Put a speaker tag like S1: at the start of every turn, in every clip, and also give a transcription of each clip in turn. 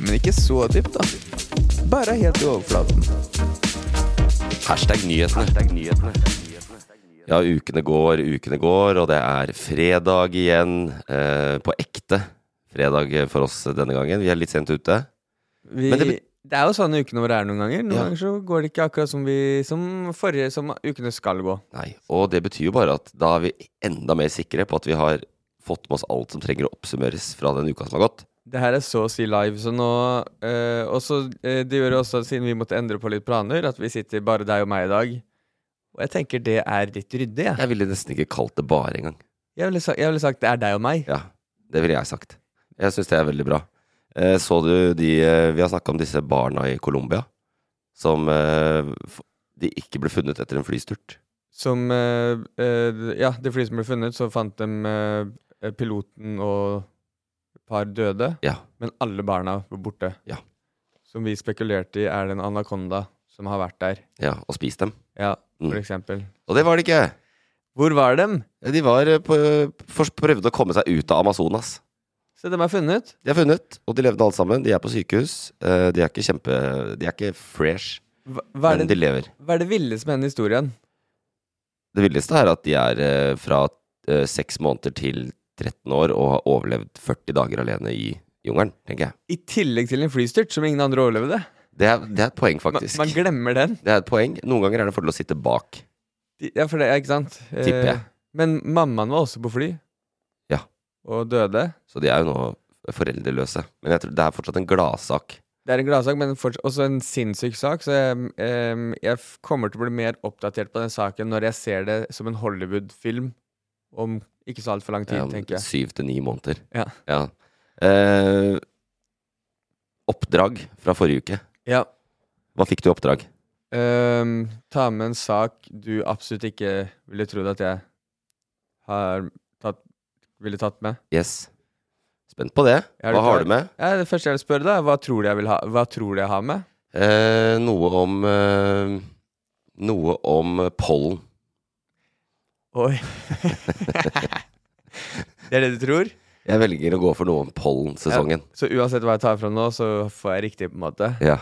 S1: Men ikke så dypt, da. Bare helt i overflaten.
S2: Hashtag nyhetene. Ja, ukene går, ukene går, og det er fredag igjen. Eh, på ekte fredag for oss denne gangen. Vi er litt sent ute.
S1: Vi,
S2: Men det
S1: det,
S2: bet-
S1: er jo sånn ukene våre er noen ganger. Noen
S2: Ja.
S1: ganger så går det ikke akkurat som, vi, som forrige Som ukene skal gå.
S2: Nei, Og det betyr jo bare at da er vi enda mer sikre på at vi har fått med oss alt som trenger å oppsummeres fra den uka som har gått.
S1: Det her er så å si live, så nå eh, også, eh, Det gjør også, at siden vi måtte endre på litt planer, at vi sitter bare deg og meg i dag. Og jeg tenker det er litt ryddig, jeg.
S2: Jeg ville nesten ikke kalt det bare engang.
S1: Jeg ville, sa, jeg ville sagt det er deg og meg.
S2: Ja, det ville jeg sagt. Jeg syns det er veldig bra. Eh, Så du de eh, Vi har snakka om disse barna i Colombia som eh, f- de ikke ble funnet etter en flystyrt.
S1: Som eh, eh, Ja, det flyet som ble funnet, så fant de eh, piloten og et par døde.
S2: Ja.
S1: Men alle barna var borte.
S2: Ja.
S1: Som vi spekulerte i, er det en anakonda som har vært der.
S2: Ja, og spist dem.
S1: Ja, for
S2: Mm.
S1: eksempel.
S2: Og det var det ikke!
S1: Hvor var dem?
S2: De var eh, på, for, prøvde å komme seg ut av Amazonas.
S1: Se, dem er funnet.
S2: De er funnet, og de levde alle sammen. De er på sykehus. Eh, De er ikke kjempe De er ikke fresh,
S1: Hva, hva,
S2: men
S1: er
S2: de
S1: det,
S2: lever.
S1: hva er det villeste med denne historien?
S2: Det villeste er at de er eh, fra eh, seks måneder til 13 år og har overlevd 40 dager alene i jungelen, tenker jeg.
S1: I tillegg til en flystyrt som ingen andre overlevde.
S2: Det er, det er et poeng,
S1: Man,
S2: faktisk.
S1: man glemmer den.
S2: Det er et poeng. Noen ganger er det en fordel å sitte bak.
S1: De- Ja, for det, ja, ikke sant? Eh,
S2: Tipper jeg.
S1: men mammaen var også på fly.
S2: Ja.
S1: Og døde.
S2: Så de er jo nå foreldreløse. Men jeg tror det er fortsatt en gladsak.
S1: Det er en gladsak, men forts- også en sinnssyk sak. Så jeg, em, jeg f- kommer til å bli mer oppdatert på den saken når jeg ser det som en Hollywood-film om ikke så altfor lang tid,
S2: Ja, om
S1: tenker jeg.
S2: Syv til ni måneder.
S1: Ja.
S2: Eh, oppdrag fra forrige uke.
S1: Ja.
S2: Hva fikk du i oppdrag?
S1: Em, Ehm, ta med en sak du absolutt ikke ville trodd at jeg har tatt, ville tatt med.
S2: Yes. Spent på det.
S1: Er du
S2: Hva har
S1: klar?
S2: du med?
S1: Ja, det første jeg vil spørre, da, hva tror du jeg, vil ha, hva tror du jeg har med?
S2: Eh, noe om eh, Noe om pollen.
S1: Oi. det er det du tror?
S2: Jeg velger å gå for noe om pollensesongen.
S1: Så uansett hva jeg tar fram nå, så får jeg riktig, på en måte.
S2: Ja.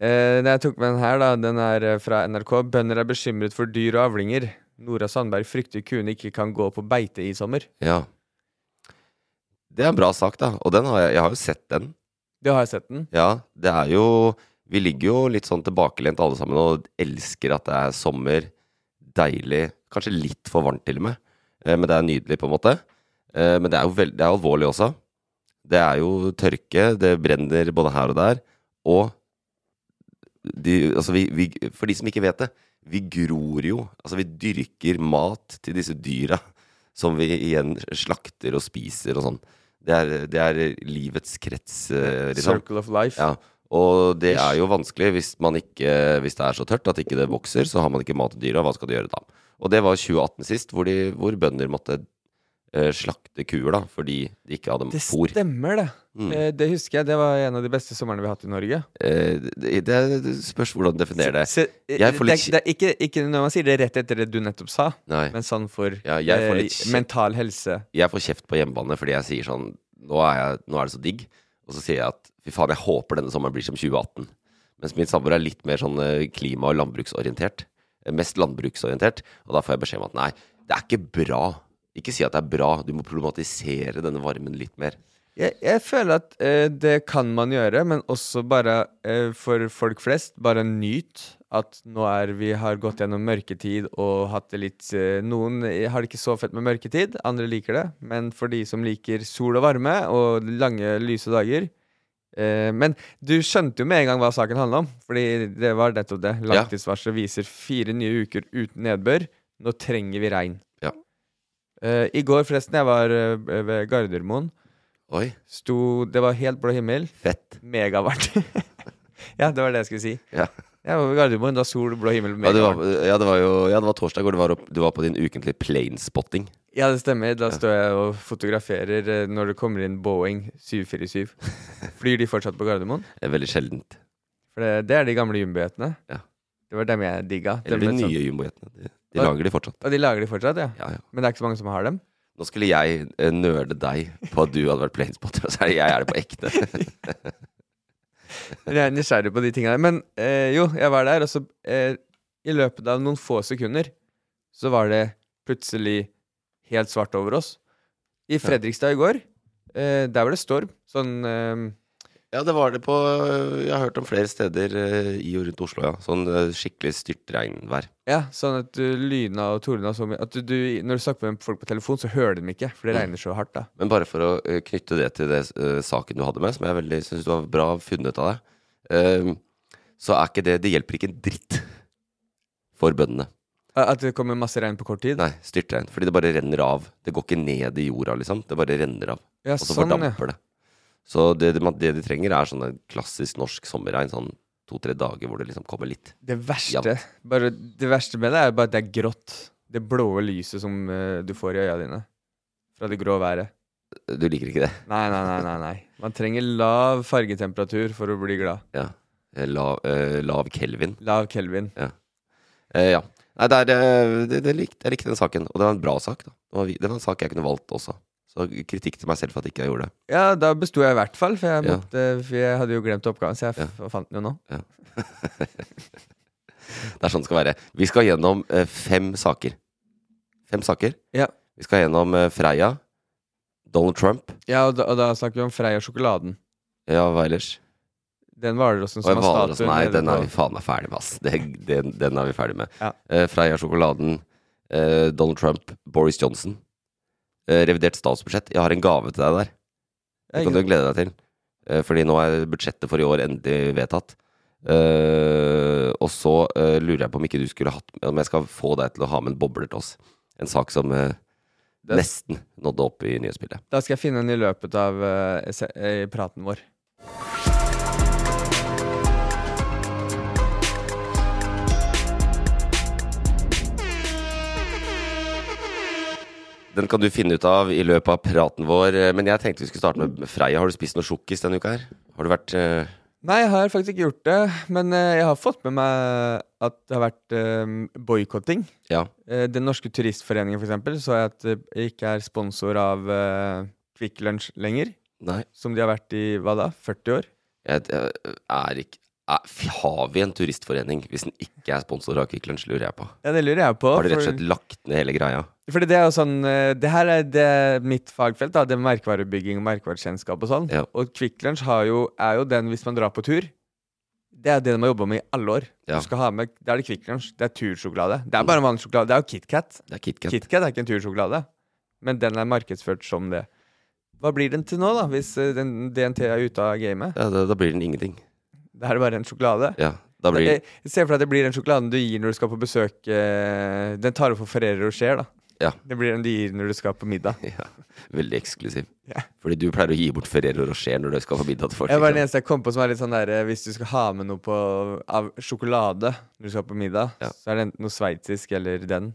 S1: Eh, det jeg tok med den her, da, den er eh, fra NRK. Bønder er bekymret for dyr og avlinger. Nora Sandberg frykter kuene ikke kan gå på beite i sommer.
S2: ja. Det er en bra sak, da. Og den har jeg, jeg har jo sett den.
S1: Det har jeg sett den.
S2: Ja, det er jo Vi ligger jo litt sånn tilbakelent alle sammen og elsker at det er sommer. Deilig. Kanskje litt for varmt til og med. Eh, Men det er nydelig, på en måte. Eh, Men det er jo veld, det er alvorlig også. Det er jo tørke. Det brenner både her og der. Og de, altså vi, vi, for de som ikke vet det, vi gror jo. Altså vi dyrker mat til disse dyra som vi igjen slakter og spiser og sånn. Det er, det er livets krets, eh, liksom.
S1: Circle of life.
S2: Ja, og det
S1: Ish.
S2: er jo vanskelig hvis, man ikke, hvis det er så tørt at ikke det vokser, så har man ikke mat til dyra, hva skal du gjøre da? Og det var 2018 sist, hvor, de, hvor bønder måtte eh, slakte kuer da, fordi de ikke hadde
S1: Det
S2: fôr.
S1: stemmer, det.
S2: Mm.
S1: Eh, det husker jeg. Det var en av de beste somrene vi har hatt i Norge.
S2: Eh, det, det, det spørs hvordan du definerer det.
S1: Se- se- eh,
S2: Jeg får
S1: det,
S2: litt-
S1: er- det er ikke, ikke når man sier det rett etter det du nettopp sa,
S2: Nei,
S1: men sånn for
S2: Ja, jeg får
S1: eh,
S2: litt kjeft.
S1: mental helse.
S2: jeg får kjeft på hjemmebane fordi jeg sier sånn, nå er, jeg, nå er det så digg, og så sier jeg at fy faen, jeg håper denne sommeren blir som 2018. Mens min samboer er litt mer sånn eh, klima- og landbruksorientert. Eh, Mest landbruksorientert. Og da får jeg beskjed om at nei, det er ikke bra. Ikke si at det er bra, du må problematisere denne varmen litt mer.
S1: Jeg, jeg føler at eh, det kan man gjøre, men også bare eh, for folk flest, bare nyt at nå er vi har gått gjennom mørketid og hatt det litt eh, Noen eh, har det ikke så fett med mørketid, andre liker det. Men for de som liker sol og varme og lange, lyse dager eh, Men du skjønte jo med en gang hva saken handla om, fordi det var nettopp det.
S2: Ja.
S1: Langtidsvarselet viser fire nye uker uten nedbør. Nå trenger vi regn.
S2: Ja.
S1: Eh, I går, forresten, jeg var eh, ved Gardermoen.
S2: Oi,
S1: Sto, det var helt blå himmel.
S2: fett.
S1: Megavart. ja, det var det jeg skulle si.
S2: Ja.
S1: Jeg var ved Gardermoen, da sol, blå himmel,
S2: Ja, det var,
S1: megavart.
S2: ja, det var jo ja, det var torsdag, og du var, opp, du var på din ukentlige planespotting.
S1: Ja, det stemmer. Da står jeg og fotograferer eh, når det kommer inn Boeing 747. Flyr de fortsatt på Gardermoen?
S2: Det er Eh, Veldig sjeldent.
S1: For det, det er de gamle jumbojetene.
S2: Ja.
S1: Det var dem jeg digga.
S2: Eller
S1: Dem
S2: de
S1: med sånn-
S2: nye jumbojetene. De, de
S1: Hva?
S2: lager de fortsatt.
S1: Og de lager de fortsatt, ja.
S2: Ja, ja.
S1: Men det er ikke så mange som har dem.
S2: Nå skulle jeg eh, nerde deg på at du hadde vært planespotter, og så er det jeg er det på ekte.
S1: Jeg er nysgjerrig på de tingene der. Men eh, jo, jeg var der, og så eh, I løpet av noen få sekunder så var det plutselig helt svart over oss. I Fredrikstad i går, eh, der var det storm. Sånn eh,
S2: Ja, det var det på Jeg har hørt om flere steder eh, i og rundt Oslo, ja. Sånn eh, skikkelig styrtregnvær.
S1: Ja, sånn at du lyna og tordna så mye at du, du, når du snakker med folk på telefon, så hører de dem ikke, for det regner så hardt da.
S2: Men bare for å eh, knytte det til det eh, saken du hadde med, som jeg veldig syns du var bra funnet av deg, eh, så er ikke det Det hjelper ikke en dritt for bøndene.
S1: A- At det kommer masse regn på kort tid.
S2: Nei, styrtregn. Fordi det bare renner av. Det går ikke ned i jorda, liksom. Det bare renner av.
S1: Ja,
S2: Og så
S1: sånn, ja.
S2: fordamper det. Så det, det, det de trenger, er sånn en klassisk norsk sommerregn. Sånn to-tre dager hvor det liksom kommer litt.
S1: Det verste, bare, det verste med det er bare at det er grått. Det blåe lyset som eh, du får i øya dine fra det grå været.
S2: Du liker ikke det?
S1: Nei, nei, nei, nei, nei. Man trenger lav fargetemperatur for å bli glad.
S2: Ja. Eh, Lav, eh, lav Kelvin.
S1: Lav Kelvin.
S2: Eh, ja. Nei, det er, eh, det, det likte, jeg likte den saken. Og det var en bra sak. da Det var, vi- det var en sak jeg kunne valgt også. Så kritikk til meg selv for at ikke jeg gjorde det.
S1: Ja, da besto jeg i hvert fall, for jeg,
S2: Ja.
S1: måtte, for jeg hadde jo glemt oppgaven, så jeg f fant den jo nå.
S2: Det er sånn det skal være. Vi skal gjennom eh, fem saker. Fem saker.
S1: Ja.
S2: Vi skal gjennom eh, Freia, Donald Trump
S1: Ja, og da, og da snakker vi om Freia sjokoladen.
S2: Ja, hva ellers?
S1: Den Hvalrossen
S2: Og
S1: som
S2: jeg
S1: har
S2: valer oss,
S1: statuen
S2: nei,
S1: nede
S2: den er
S1: på-
S2: vi faen meg ferdig med, ass. Den, den, den er vi ferdig med.
S1: Ja.
S2: Eh, Freia sjokoladen, eh, Donald Trump, Boris Johnson. Eh, revidert statsbudsjett. Jeg har en gave til deg der. Det kan du glede deg til. Eh, fordi nå er budsjettet for i år endelig vedtatt. Eh, og så eh, lurer jeg på om ikke du skulle hatt Om jeg skal få deg til å ha med en bobler til oss. En sak som eh,
S1: Det-
S2: nesten nådde opp i nyhetsbildet.
S1: Da skal jeg finne den i løpet av eh, se- eh, praten vår.
S2: Den kan du finne ut av i løpet av praten vår. eh, Men jeg tenkte vi skulle starte med Freia. Har du spist noe sjokkis denne uka her? Har du vært eh,
S1: Nei, jeg har faktisk ikke gjort det, men eh, jeg har fått med meg at det har vært eh, boikotting.
S2: Ja.
S1: Eh, Den norske turistforeningen, for eksempel, så jeg at eh, ikke er sponsor av eh, Kvikk Lunsj lenger.
S2: Nei.
S1: Som de har vært i hva da? 40 år?
S2: Jeg, jeg er ikke er, f- Har vi en turistforening hvis den ikke er sponsor av Kvikk Lunsj, lurer jeg på.
S1: Ja, det lurer jeg på.
S2: Har de rett og
S1: for-
S2: slett lagt ned hele greia?
S1: Fordi det er jo sånn eh, Det her er det, mitt fagfelt, da. Det er merkevarebygging og merkevarekjennskap og sånn.
S2: Ja.
S1: Og Kvikk Lunsj har jo, er jo den hvis man drar på tur. Det er det de har jobba med i alle år.
S2: Ja.
S1: Du skal ha med, Da er det Kvikk Lunsj. Det er tursjokolade. Det er bare vanlig sjokolade. Det er jo KitKat.
S2: Det er KitKat.
S1: KitKat er ikke en tursjokolade, men den er markedsført som det. Hva blir den til nå, da, hvis eh, den, DNT er ute av gamet?
S2: Ja, da, da blir den ingenting.
S1: Da er det bare en sjokolade.
S2: Ja, da blir
S1: Jeg jeg ser for deg at det blir den sjokoladen du gir når du skal på besøk eh, Den tar du for Ferrero Rocher, da.
S2: Ja.
S1: Det blir den du gir når du skal på middag.
S2: ja, veldig eksklusiv.
S1: Ja.
S2: Fordi du pleier å gi bort Ferrero Rocher når du skal på middag til folk.
S1: Jeg var
S2: ikke
S1: den
S2: sant?
S1: eneste jeg kom på som er litt sånn der eh, Hvis du skal ha med noe på, av sjokolade når du skal på middag,
S2: Ja.
S1: så er det enten noe sveitsisk eller den.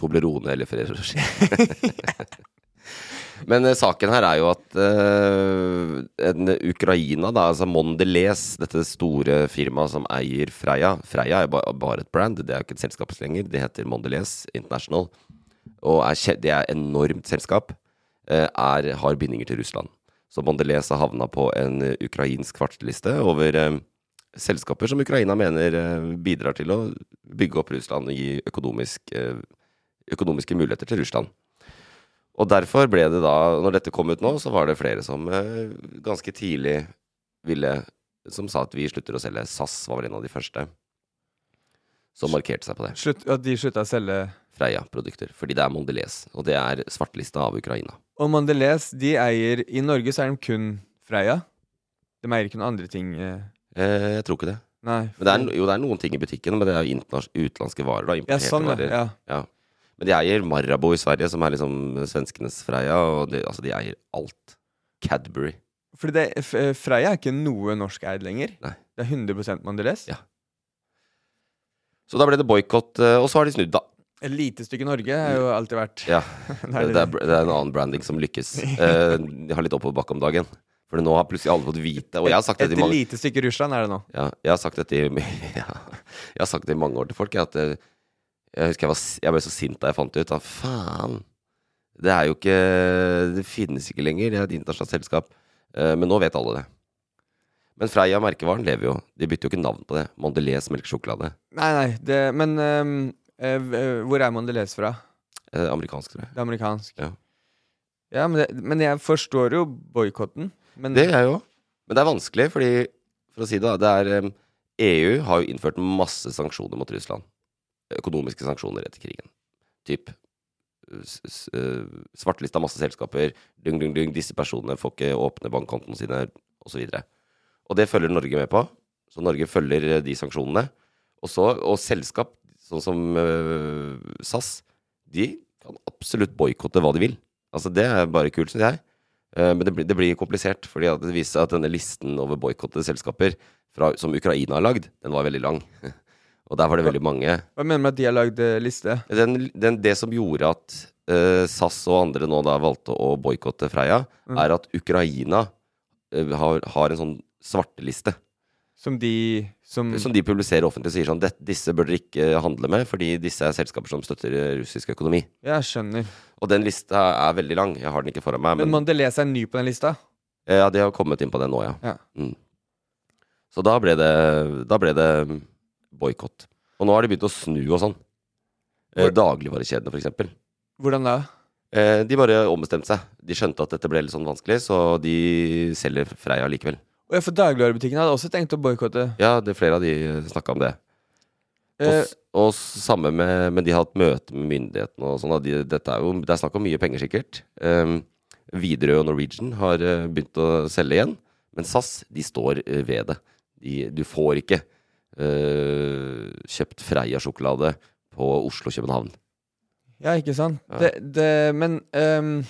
S2: Toblerone eller Ferrero Rocher. Men eh, saken her er jo at eh, en Ukraina, da, altså Mondelez, dette store firmaet som eier Freia Freia er ba bare et brand, det er jo ikke et selskap lenger. Det heter Mondelez International. Og er, kje- det er enormt selskap. eh, Er, har bindinger til Russland. Så Mondelez har havna på en eh, ukrainsk kvartsliste over eh, selskaper som Ukraina mener eh, bidrar til å bygge opp Russland og gi økonomisk eh, økonomiske muligheter til Russland. Og derfor ble det da, når dette kom ut nå, så var det flere som eh, ganske tidlig ville Som sa at vi slutter å selge. SAS var vel en av de første som markerte seg på det.
S1: Slutt, at de slutta å selge
S2: Freia-produkter. Fordi det er Mondelez, og det er svartlista av Ukraina.
S1: Og Mondelez, de eier I Norge så er de kun Freia. De eier ikke noen andre ting. eh,
S2: Eh, jeg tror ikke det.
S1: Nei.
S2: Men det er, jo, det er noen ting i butikken, men det er jo internas- utenlandske varer. da,
S1: ja,
S2: importerte
S1: sånn, ja.
S2: varer.
S1: ja.
S2: Men de eier Marabou i Sverige, som er liksom svenskenes Freia, og de, altså, de eier alt. Cadbury.
S1: Fordi det, F- eh, Freia er ikke noe norskeid lenger.
S2: Nei.
S1: Det er 100 Mondelez.
S2: Ja. Så da ble det boikott, eh, og så har de snudd, da.
S1: Et lite stykke Norge har jo alltid vært
S2: Ja.
S1: Nei,
S2: det, er, br- det er en annen branding som lykkes. Eh, de har litt oppoverbakke om dagen. For nå har plutselig alle fått vite Og jeg har sagt
S1: Et,
S2: det i mange
S1: lite stykke Russland er det nå.
S2: ja, Jeg har sagt dette i, ja, jeg har sagt det i mange år til folk. Jeg, at jeg, jeg husker jeg, var, s- jeg ble så sint da jeg fant det ut. Da, faen! Det er jo ikke Det finnes ikke lenger. Det er et internasjonalt selskap. Eh, men nå vet alle det. Men Freia, merkevaren, lever jo. De bytter jo ikke navn på det. Mondelez melkesjokolade.
S1: Nei, nei, det, men ehm, eh, eh, hvor er Mondelez fra?
S2: Eh, amerikansk, tror jeg.
S1: Det er amerikansk.
S2: Ja.
S1: Ja, men, det, men jeg forstår jo boikotten. Men
S2: Det gjør jeg òg. Men det er vanskelig, fordi For å si det, da. Det er, em, EU har jo innført masse sanksjoner mot Russland. Økonomiske sanksjoner etter krigen. Typ s- s- eh, svartelista masse selskaper, dung, dung, dung, disse personene får ikke åpne bankkontoene sine, osv. Og det følger Norge med på. Så Norge følger eh, de sanksjonene. Og, så, og selskap, sånn som eh, SAS, de kan absolutt boikotte hva de vil. Altså, det er bare kult, syns jeg. Eh, Men det blir, det blir komplisert, fordi at det viser seg at denne listen over boikottede selskaper fra, som Ukraina har lagd, den var veldig lang. Og der var det veldig mange.
S1: hva mener du med at de har lagd eh, liste?
S2: Den, den, det som gjorde at eh, SAS og andre nå da valgte å boikotte Freia, er at Ukraina eh, har, har en sånn svarteliste
S1: Som de som,
S2: som de publiserer offentlig og sier sånn "Dette- Disse bør dere ikke handle med, fordi disse er selskaper som støtter eh, russisk økonomi.
S1: Ja, Jeg skjønner.
S2: Og den lista er veldig lang. Jeg har den ikke foran meg.
S1: Men Mondelez er ny på den lista?
S2: Eh, Ja, de har kommet inn på det nå, ja.
S1: Ja.
S2: Mm. Så da ble det, da ble det boikott. Og nå har de begynt å snu og sånn. Eh,
S1: Hvor-
S2: dagligvarekjedene, for eksempel.
S1: Hvordan da?
S2: Eh, de bare ombestemte seg. De skjønte at dette ble litt sånn vanskelig, så de selger Freia likevel.
S1: Og jeg for dagligvarebutikken hadde også tenkt å boikotte.
S2: Ja, det, flere av de snakka om det. Og,
S1: Eh,
S2: s- og s- samme med Men de har hatt møte med myndighetene og sånn. og De, dette er jo, det er snakk om mye penger, sikkert. Um, Widerøe og Norwegian har eh, begynt å selge igjen. Men SAS, de står eh, ved det. De, du får ikke eh, kjøpt Freia-sjokolade på Oslo-København.
S1: ja, ikke sant?
S2: Ja.
S1: Det, det, men ehm,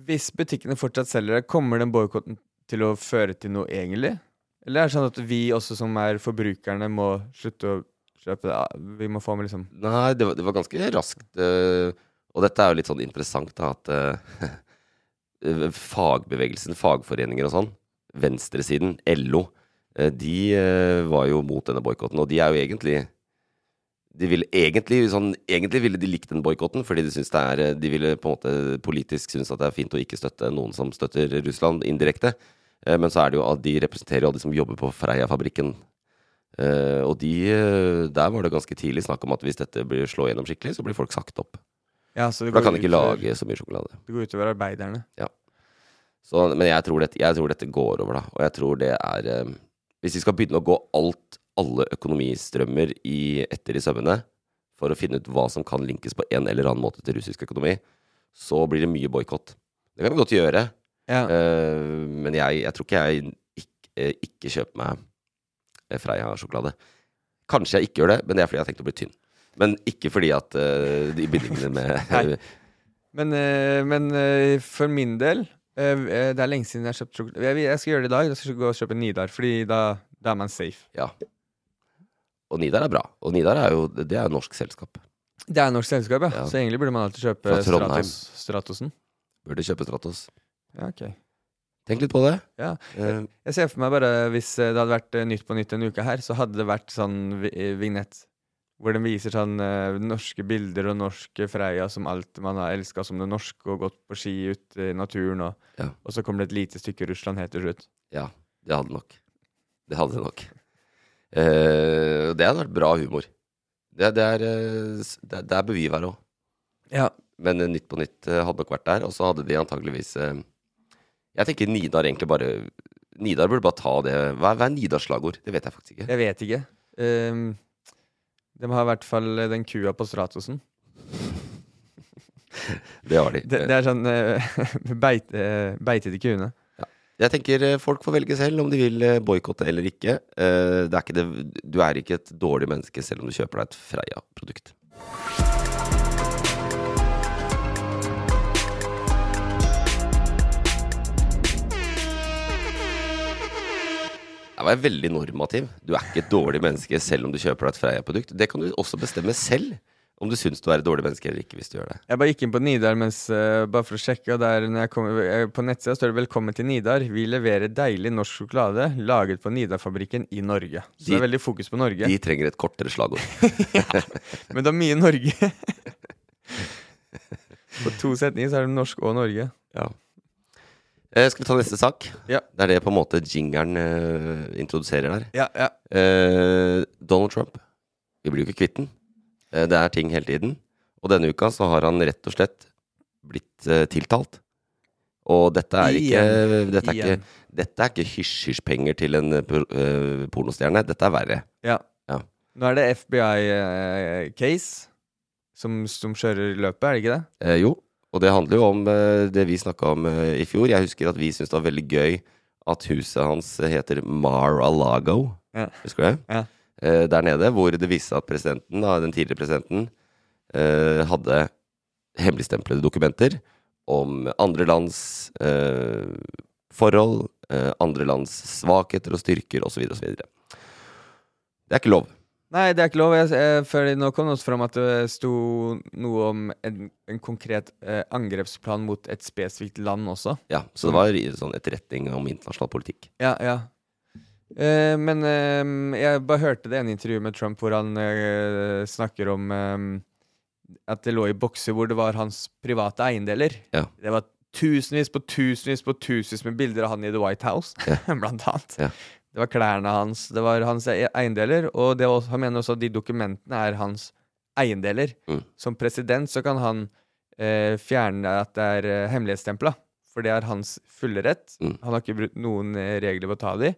S1: hvis butikkene fortsatt selger det, kommer den boikotten til å føre til noe egentlig? Eller er det sånn at vi også som er forbrukerne, må slutte å kjøpe det? Vi må få med liksom
S2: Nei, det var, det var ganske raskt. eh, og dette er jo litt sånn interessant, da, at eh, fagbevegelsen, fagforeninger og sånn, venstresiden, LO, eh, de eh, var jo mot denne boikotten. Og de er jo egentlig de ville egentlig, sånn, egentlig ville de likt den boikotten, fordi de, syns det er, eh, de ville på en måte politisk synes at det er fint å ikke støtte noen som støtter Russland indirekte. Eh, Men så er det jo at de representerer jo alle de som jobber på Freia-fabrikken. Eh, og de, eh, der var det ganske tidlig snakk om at hvis dette blir slå gjennom skikkelig, så blir folk sagt opp.
S1: ja, så det
S2: For da
S1: går
S2: kan de ikke
S1: utover-
S2: lage så mye sjokolade.
S1: Det går utover arbeiderne.
S2: Så, men jeg tror, dette, jeg tror dette går over, da. Og jeg tror det er eh, Hvis vi skal begynne å gå alt, alle økonomistrømmer i, etter i sømmene for å finne ut hva som kan linkes på en eller annen måte til russisk økonomi, så blir det mye boikott. Det kan vi godt gjøre,
S1: Ja.
S2: eh, men jeg, jeg tror ikke jeg ikke, eh, ikke kjøper meg eh, Freia-sjokolade. Kanskje jeg ikke gjør det, men det er fordi jeg har tenkt å bli tynn. Men ikke fordi at eh, de bindingene med
S1: Nei. Men, eh, men eh, for min del eh, eh, Det er lenge siden jeg har kjøpt sjokolade. Jeg, jeg skal gjøre det i dag. Jeg skal gå og kjøpe Nidar, Fordi da, da er man safe.
S2: Ja. Og Nidar er bra. Og Nidar er jo det er jo norsk selskap.
S1: Det er norsk selskap, ja.
S2: Ja.
S1: Så egentlig burde man alltid kjøpe
S2: Fra Trondheim.
S1: Stratos, Stratosen.
S2: Burde kjøpe Stratos.
S1: Ja, ok
S2: Tenk litt på det.
S1: Ja.
S2: Eh,
S1: Jeg ser for meg bare hvis eh, det hadde vært eh, Nytt på nytt en uke her, så hadde det vært sånn vi- eh, vignett hvor den viser sånn eh, norske bilder og norske Freia som alt man har elska som det norske, og gått på ski ut i naturen, og,
S2: Ja.
S1: og så kommer det et lite stykke Russland helt til slutt.
S2: ja, det hadde nok. Det hadde nok. Eh, det hadde vært bra humor. Det, det, er, eh, s- det, det er beviv her òg.
S1: Ja.
S2: Men eh, Nytt på Nytt eh, hadde nok vært der, og så hadde de antageligvis eh, Jeg tenker Nidar egentlig bare Nidar burde bare ta det. Hva er, hva er Nidars slagord? Det vet jeg faktisk ikke.
S1: Jeg vet ikke. Ehm, de har i hvert fall eh, den kua på Stratosen.
S2: Det har de.
S1: Det, det er sånn eh, beite, eh, beite til kuene.
S2: Jeg tenker eh, folk får velge selv om de vil boikotte eller ikke. Eh, Det er ikke det, du er ikke et dårlig menneske selv om du kjøper deg et Freia-produkt. Der var jeg veldig normativ. Du er ikke et dårlig menneske selv om du kjøper deg et Freia-produkt. Det kan du også bestemme selv om du syns du er et dårlig menneske eller ikke. hvis du gjør det
S1: Jeg bare gikk inn på Nidar mens, eh, bare for å sjekke. Og der, når jeg kom, eh, på nettsida står det 'Velkommen til Nidar'. Vi leverer deilig norsk sjokolade laget på Nidar-fabrikken i Norge. Så det er veldig fokus på Norge.
S2: De trenger et kortere slagord.
S1: Men det er mye Norge. på to setninger så er det norsk og Norge.
S2: Ja. Eh, skal vi ta neste sak?
S1: Ja.
S2: Det er det på en måte jingeren eh, introduserer der.
S1: Ja, ja.
S2: Eh, Donald Trump. Vi blir jo ikke kvitt den. Eh, det er ting hele tiden. Og denne uka så har han rett og slett blitt eh, tiltalt. Og dette er ikke Dette er ikke,
S1: Igjen.
S2: dette er ikke hysj-hysj-penger til en eh, por- eh, pornostjerne. Dette er verre.
S1: Ja.
S2: Ja.
S1: Nå er det FBI-case eh, som, som kjører løpet, er det ikke det?
S2: Eh, jo, og det handler jo om eh, det vi snakka om eh, i fjor. Jeg husker at vi syntes det var veldig gøy at huset hans heter Mar-a-Lago.
S1: Ja.
S2: Husker du det?
S1: Ja.
S2: Eh, der nede, hvor det viste seg at presidenten, da, den tidligere presidenten eh, hadde hemmeligstemplede dokumenter om andre lands eh, forhold, eh, andre lands svakheter og styrker osv. osv. Det er ikke lov.
S1: Nei, det er ikke lov. Jeg, jeg, før det nå kom det også fram at det sto noe om en, en konkret eh, angrepsplan mot et spesifikt land også.
S2: Ja, så
S1: Mm.
S2: det var i sånn etterretning om internasjonal politikk.
S1: Ja, ja. Eh, men eh, jeg bare hørte det ene intervjuet med Trump hvor han eh, snakker om eh, at det lå i bokser hvor det var hans private eiendeler.
S2: Ja.
S1: Det var tusenvis på tusenvis på tusenvis med bilder av han i The White House, blant annet.
S2: Ja.
S1: Det var klærne hans, det var hans e- eiendeler, og det var, også- han mener også at de dokumentene er hans eiendeler.
S2: Mm.
S1: Som president så kan han eh, fjerne at det er eh, hemmelighetsstempla, for det er hans fulle rett.
S2: Mm.
S1: Han har ikke brutt noen eh, regler på å ta de,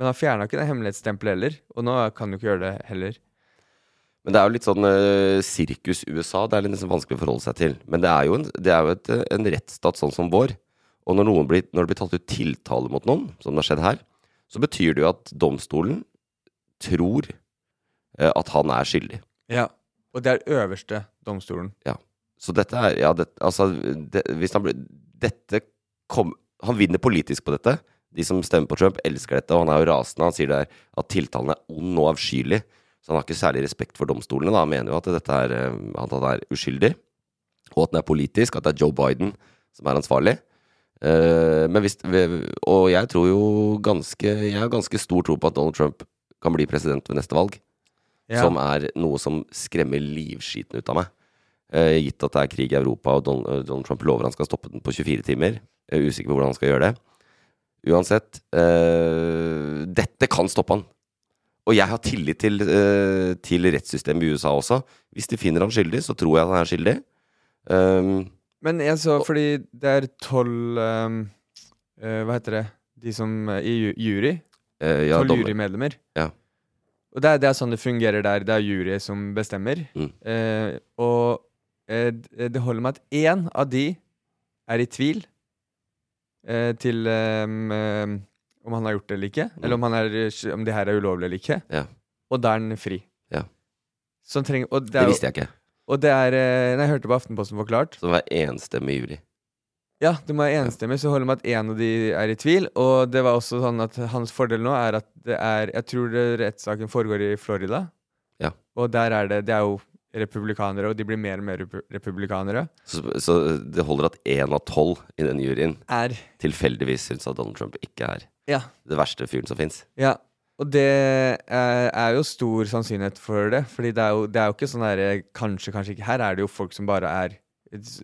S1: men han fjerna ikke det hemmelighetstempelet heller, og nå kan du ikke gjøre det heller.
S2: Men det er jo litt sånn eh, sirkus USA. Det er litt liksom vanskelig å forholde seg til. Men det er jo en, det er jo et, eh, en rettsstat sånn som vår. Og når, noen blir, når det blir tatt ut tiltale mot noen, som det har skjedd her, så betyr det jo at domstolen tror eh, at han er skyldig.
S1: Ja. Og det er øverste domstolen.
S2: Så dette er Ja, det, altså det, Hvis han blir Dette kom Han vinner politisk på dette. De som stemmer på Trump, elsker dette, og han er jo rasende. Han sier det er at tiltalen er ond og avskyelig. Så han har ikke særlig respekt for domstolene. Da. Han mener jo at dette er, eh, at han er uskyldig, og at den er politisk. At det er Joe Biden som er ansvarlig. Eh, men hvis, og jeg tror jo ganske Jeg har ganske stor tro på at Donald Trump kan bli president ved neste valg
S1: Ja.
S2: som er noe som skremmer livskiten ut av meg. Eh, gitt at det er krig i Europa, og Don- eh, Donald Trump lover han skal stoppe den på 24 timer. Jeg er usikker på hvordan han skal gjøre det. Uansett, eh, dette kan stoppe han. Og jeg har tillit til, eh, til rettssystemet i USA også. Hvis de finner han skyldig, så tror jeg at han er skyldig. Um,
S1: Men jeg så, fordi det er tolv ehm, eh, Hva heter det? De som eh, i ju- jury?
S2: eh, ja,
S1: Tolv
S2: dommer.
S1: jurymedlemmer.
S2: Ja.
S1: Og det er, det er sånn det fungerer der. Det er jury som bestemmer.
S2: Mm.
S1: Eh, og eh, d- det holder med at én av de er i tvil eh, til ehm, ehm, om han har gjort det eller ikke. Eller om, han er, eh, om det her er ulovlig eller ikke.
S2: Mm. Ja.
S1: Og da er han fri.
S2: Ja.
S1: Så han trenger, og det,
S2: Det
S1: er,
S2: visste jeg ikke.
S1: og det er eh, Nei, jeg hørte på Aftenposten forklart.
S2: Så det var enstemmig jury.
S1: Ja, det må være enstemmig, så holder det med at én av de er i tvil. Og det var også sånn at hans fordel nå er at det er Jeg tror det rettssaken foregår i Florida.
S2: Ja.
S1: Og der er det Det er jo republikanere, og de blir mer og mer repu- republikanere.
S2: Så, så det holder at én av tolv i den juryen
S1: Er
S2: tilfeldigvis syns at Donald Trump ikke er
S1: Ja.
S2: det verste fyren som fins.
S1: Ja, og det er, er jo stor sannsynlighet for det. Fordi det er jo, det er jo ikke sånn derre kanskje, kanskje ikke. Her er det jo folk som bare er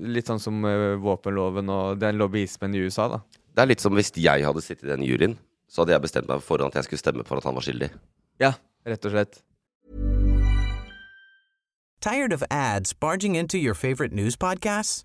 S1: Litt sånn som ø, våpenloven og den lobbyismen i USA, da.
S2: Det er litt som hvis jeg hadde sittet i den juryen, så hadde jeg bestemt meg på forhånd at jeg skulle stemme for at han var skyldig.
S1: Ja, rett og slett.
S3: Tired of ads barging into your favorite news podcasts?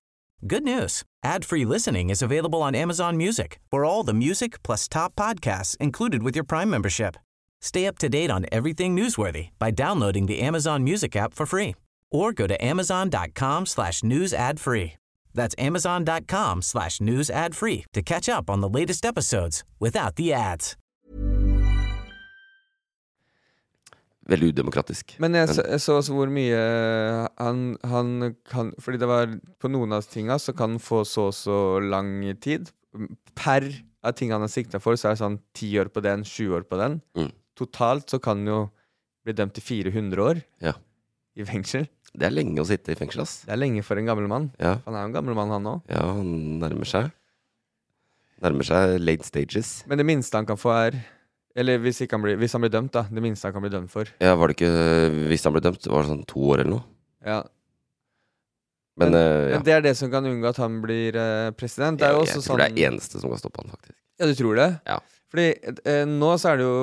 S3: Good news. Ad-free listening is available on Amazon Music for all the music plus top podcasts included with your Prime membership. Stay up to date on everything newsworthy by downloading the Amazon Music app for free or go to amazon.com slash news ad free. That's amazon.com slash news ad free to catch up on the latest episodes without the ads.
S2: Veldig udemokratisk.
S1: Men jeg så, jeg så også hvor mye eh, han, han kan Fordi det var på noen av tinga så kan han få så og så lang tid per av ting han har sikta for, så er det sånn ti år på den, 20 år på den.
S2: Mm.
S1: Totalt så kan han jo bli dømt til 400 år
S2: Ja.
S1: i fengsel.
S2: Det er lenge å sitte i fengsel, ass.
S1: Det er lenge for en gammel mann.
S2: Ja,
S1: Han er jo en gammel mann, han òg.
S2: ja han nærmer seg. Nærmer seg late stages.
S1: Men det minste han kan få, er Eller hvis, ikke han blir, hvis han blir dømt, da. Det minste han kan bli dømt for.
S2: Ja, var det ikke Hvis han ble dømt, var det sånn to år eller noe.
S1: Ja.
S2: Men,
S1: Men-
S2: eh, ja.
S1: Men det er det som kan unngå at han blir eh, president. Det er
S2: Jeg,
S1: jo
S2: jeg
S1: også
S2: tror
S1: sånn
S2: det er eneste som kan stoppe han, faktisk.
S1: Ja, du tror det?
S2: Ja.
S1: Fordi eh, nå så er det jo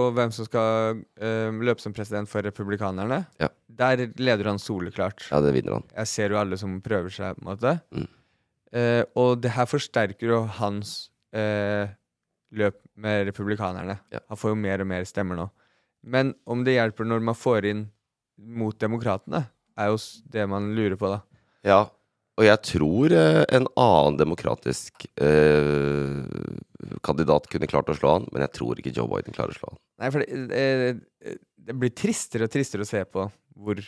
S1: og hvem som skal eh, løpe som president for republikanerne.
S2: Ja.
S1: Der leder han soleklart.
S2: Ja, det vinner han.
S1: Jeg ser jo alle som prøver seg, på en måte.
S2: Mm.
S1: Eh, og det her forsterker jo hans eh, løp med republikanerne.
S2: Ja.
S1: Han får jo mer og mer stemmer nå. Men om det hjelper når man får inn mot demokratene, er jo s- det man lurer på, da.
S2: Ja, og jeg tror eh, en annen demokratisk eh, kandidat kunne klart å slå han, men jeg tror ikke Joe Biden klarer å slå han.
S1: Nei, for det, eh, eh, det blir tristere og tristere å se på hvor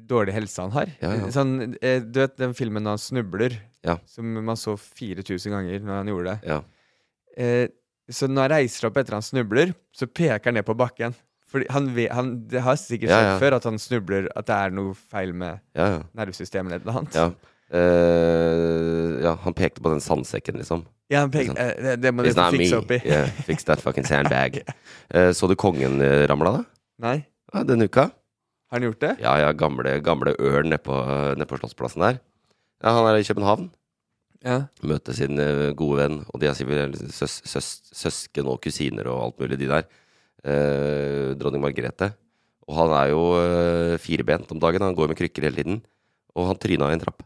S1: dårlig helse han har.
S2: Ja, ja.
S1: Sånn, eh, du vet den filmen da han snubler,
S2: Ja.
S1: som man så 4000 ganger når han gjorde det.
S2: Ja.
S1: Eh, så når han reiser opp etter han snubler, så peker han ned på bakken. Fordi han, ve- han, det har sikkert
S2: Ja,
S1: skjedd
S2: ja.
S1: før at han snubler, at det er noe feil med
S2: Ja, ja.
S1: nervesystemet eller noe annet.
S2: Ja. Eh, ja, han pekte på den sandsekken, liksom.
S1: Ja, han peker,
S2: Ikke sant?
S1: eh, det, det må
S2: It's
S1: dere
S2: not me.
S1: fikse opp i.
S2: Yeah, fix that fucking sandbag. Eh, så du kongen eh, ramla, da?
S1: Nei,
S2: Ja, denne uka?
S1: har han gjort det?
S2: Ja, ja, gamle, gamle Ørn nede på, ned på Slottsplassen der. Ja, han er i København.
S1: Ja.
S2: Møter sin eh, gode venn, og de er sikkert søs, søs, søsken og kusiner og alt mulig, de der. Eh, dronning Margrethe. Og han er jo eh, firbent om dagen, han går med krykker hele tiden. Og han tryna i en trapp.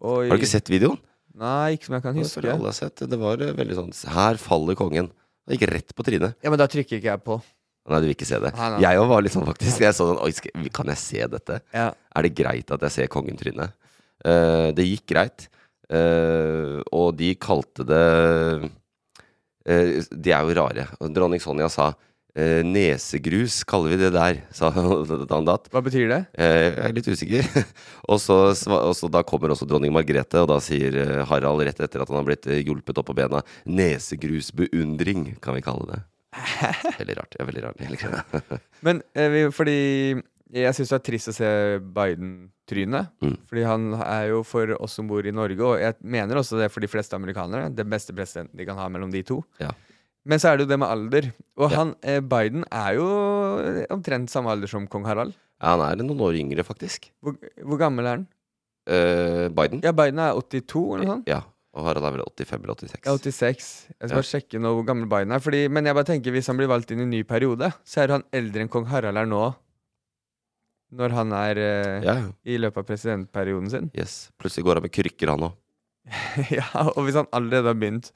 S1: Oi.
S2: Har du ikke sett videoen?
S1: Nei, ikke som jeg kan
S2: Det
S1: huske.
S2: føler jeg alle har sett. Det var eh, veldig sånn Her faller kongen. Han gikk rett på trynet.
S1: Ja, men da trykker ikke jeg på.
S2: Nei, du vil ikke se det.
S1: Nei, nei.
S2: Jeg òg var litt sånn, faktisk. Jeg så den, Oi, skal, kan jeg se dette?
S1: Ja.
S2: Er det greit at jeg ser kongen tryne? Eh, det gikk greit. Eh, og de kalte det eh, De er jo rare. Og Dronning Sonja sa eh, 'Nesegrus kaller vi det der', sa han da han datt.
S1: Hva betyr det?
S2: Eh, jeg er litt usikker. og, så, sva- og så da kommer også dronning Margrethe, og da sier eh, Harald rett etter at han har blitt eh, hjulpet opp på bena 'Nesegrusbeundring', kan vi kalle det. Veldig rart. Ja, veldig rart. egentlig.
S1: Men eh, vi, fordi jeg syns det er trist å se Biden-trynet.
S2: Mm.
S1: Fordi han er jo for oss som bor i Norge, og jeg mener også det er for de fleste amerikanere, den beste presidenten de kan ha mellom de to.
S2: Ja.
S1: Men så er det jo det med alder. Og
S2: Ja.
S1: han, eh, Biden er jo omtrent samme alder som kong Harald.
S2: Ja, han er noen år yngre, faktisk.
S1: Hvor, hvor gammel er han?
S2: Eh, Biden.
S1: Ja, Biden er 82 eller noe sånt.
S2: Ja, og Harald er vel 85 eller 86.
S1: Ja, 86. Jeg skal
S2: Ja.
S1: bare sjekke nå hvor gammel Biden er. Fordi, men jeg bare tenker hvis han blir valgt inn i en ny periode, så er han eldre enn kong Harald er nå. Når han er eh,
S2: Ja,
S1: i løpet av presidentperioden sin.
S2: yes. Plutselig går han med krykker, han òg.
S1: ja, Og hvis han allerede har begynt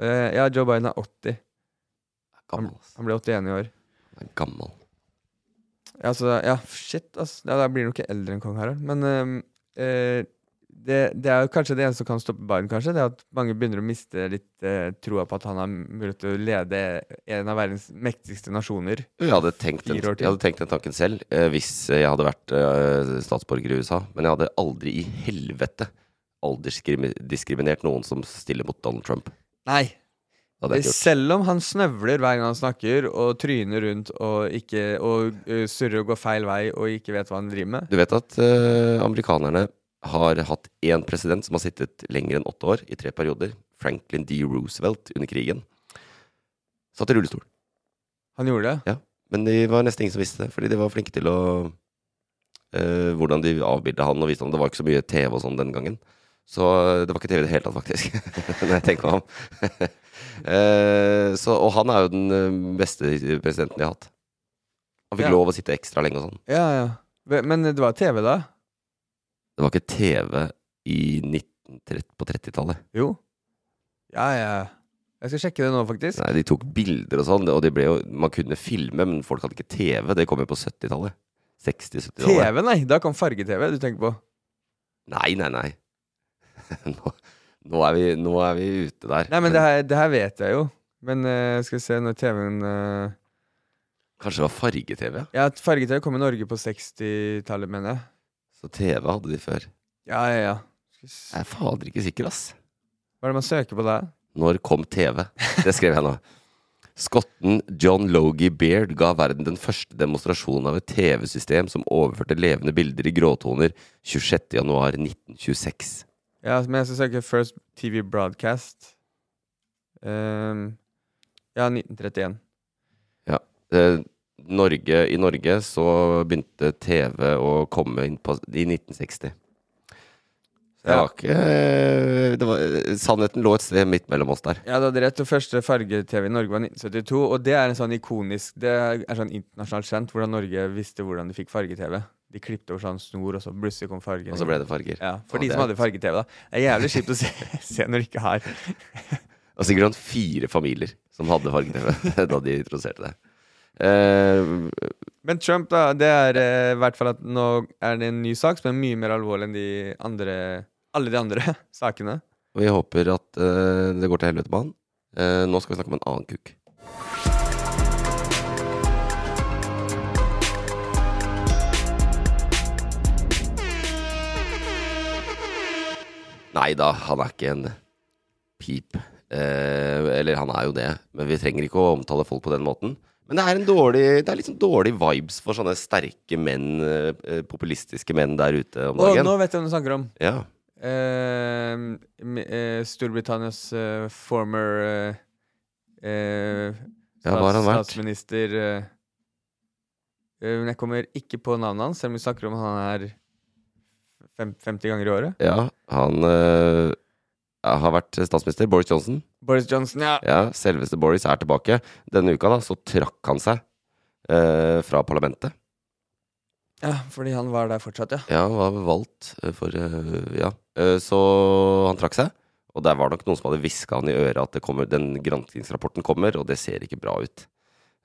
S1: eh, Ja, Joe Biden er 80.
S2: Gammel, ass.
S1: Han blir 81 i år.
S2: Han er gammel.
S1: Ja, så, da- ja shit, ass. Ja, da blir han jo ikke eldre enn kong Harald. Men eh, eh, det, det er jo kanskje det eneste som kan stoppe Biden, kanskje. Det er at mange begynner å miste litt eh, troa på at han har mulighet til å lede en av verdens mektigste nasjoner.
S2: Jeg hadde, tenkt den,
S1: Fire år til.
S2: jeg hadde tenkt den tanken selv eh, hvis jeg hadde vært eh, statsborger i USA. Men jeg hadde aldri i helvete aldersdiskriminert noen som stiller mot Donald Trump.
S1: Nei.
S2: Det hadde jeg ikke gjort.
S1: Selv om han snøvler hver gang han snakker, og tryner rundt og, ikke, og eh, surrer og går feil vei og ikke vet hva han driver med.
S2: Du vet at eh, amerikanerne har hatt én president som har sittet lenger enn åtte år, i tre perioder. Franklin D. Roosevelt under krigen. Satt i rullestol.
S1: Han gjorde det.
S2: Men det var nesten ingen som visste det, fordi de var flinke til å eh, Hvordan de avbilda han og viste ham. Det var ikke så mye TV og sånn den gangen. Så eh, det var ikke TV i det hele tatt, faktisk, når jeg tenker meg om. Eh, så, og han er jo den eh, beste presidenten de har hatt. Han fikk
S1: Ja.
S2: lov å sitte ekstra lenge og sånn.
S1: Ja, ja. Ve- Men det var TV, da?
S2: Det var ikke TV i 1930, på 30-tallet.
S1: Jo. Ja, ja. Jeg skal sjekke det nå, faktisk.
S2: Nei, de tok bilder og sånn, og de ble jo, man kunne filme, men folk hadde ikke TV. Det kom jo på 70-tallet. 60-70-tallet.
S1: TV, nei! Da kom farge-TV du tenker på.
S2: Nei, nei, nei. Nå, nå, er, vi, nå er vi ute der.
S1: Nei, men det her, det her vet jeg jo. Men eh, skal vi se når TV-en eh,
S2: Kanskje det var farge-TV? ja.
S1: Ja, farge-TV kom i Norge på 60-tallet, mener jeg.
S2: Så TV hadde de før.
S1: Ja, ja, ja. Skal vi s-
S2: Jeg er fader ikke sikker, ass.
S1: Hva er det man søker på da?
S2: Når kom TV? Det skrev jeg nå. Skotten John Logie Baird ga verden den første demonstrasjonen av et TV-system som overførte levende bilder i gråtoner 26.1.1926.
S1: Ja, men jeg skal søke First TV Broadcast. Ehm, ja, 1931.
S2: Eh, Norge, I Norge så begynte TV å komme inn på, i 1960. Så det
S1: Ja.
S2: var ikke det var, eh, Sannheten lå et sted midt mellom oss der.
S1: Ja, du hadde rett. Og første farge-TV i Norge var 1972. Og det er en sånn ikonisk Det er sånn internasjonalt kjent hvordan Norge visste hvordan de fikk farge-TV. De klippet over sånn snor, og så plutselig kom fargen.
S2: Og så ble det farger.
S1: Ja, For
S2: Og
S1: de
S2: det
S1: som
S2: er-
S1: hadde farge-TV, da. Det er jævlig kjipt å se, se når du ikke har.
S2: Og sikkert sånn fire familier som hadde farge-TV da de introduserte det. Eh,
S1: Men Trump, da. Det er eh, i hvert fall at nå er det en ny sak som er mye mer alvorlig enn de andre alle de andre sakene.
S2: Og vi håper at eh, det går til helvete med han. Eh, nå skal vi snakke om en annen kuk. Nei da, han er ikke en pip. Eh, eller han er jo det, men vi trenger ikke å omtale folk på den måten. Men det er, en dårlig, det er litt sånn dårlig vibes for sånne sterke menn, eh, eh, populistiske menn der ute om
S1: Og
S2: dagen.
S1: nå vet jeg hva du snakker om.
S2: Ja.
S1: eh, m- eh, Storbritannias eh, former eh, eh,
S2: Ja, hva har han vært?
S1: statsminister eh, eh, Men jeg kommer ikke på navnet hans, selv om vi snakker om han er fem, 50 ganger i året.
S2: Ja, han øh, har vært statsminister. Boris Johnson.
S1: Boris Johnson, ja.
S2: Ja, Selveste Boris er tilbake. Denne uka da, så trakk han seg øh, fra parlamentet.
S1: ja. Fordi han var der fortsatt, ja.
S2: Ja, han var valgt øh, for øh, Ja. Øh, så han trakk seg. Og der var nok noen som hadde hviska han i øret at det kommer, den granskingsrapporten kommer, og det ser ikke bra ut.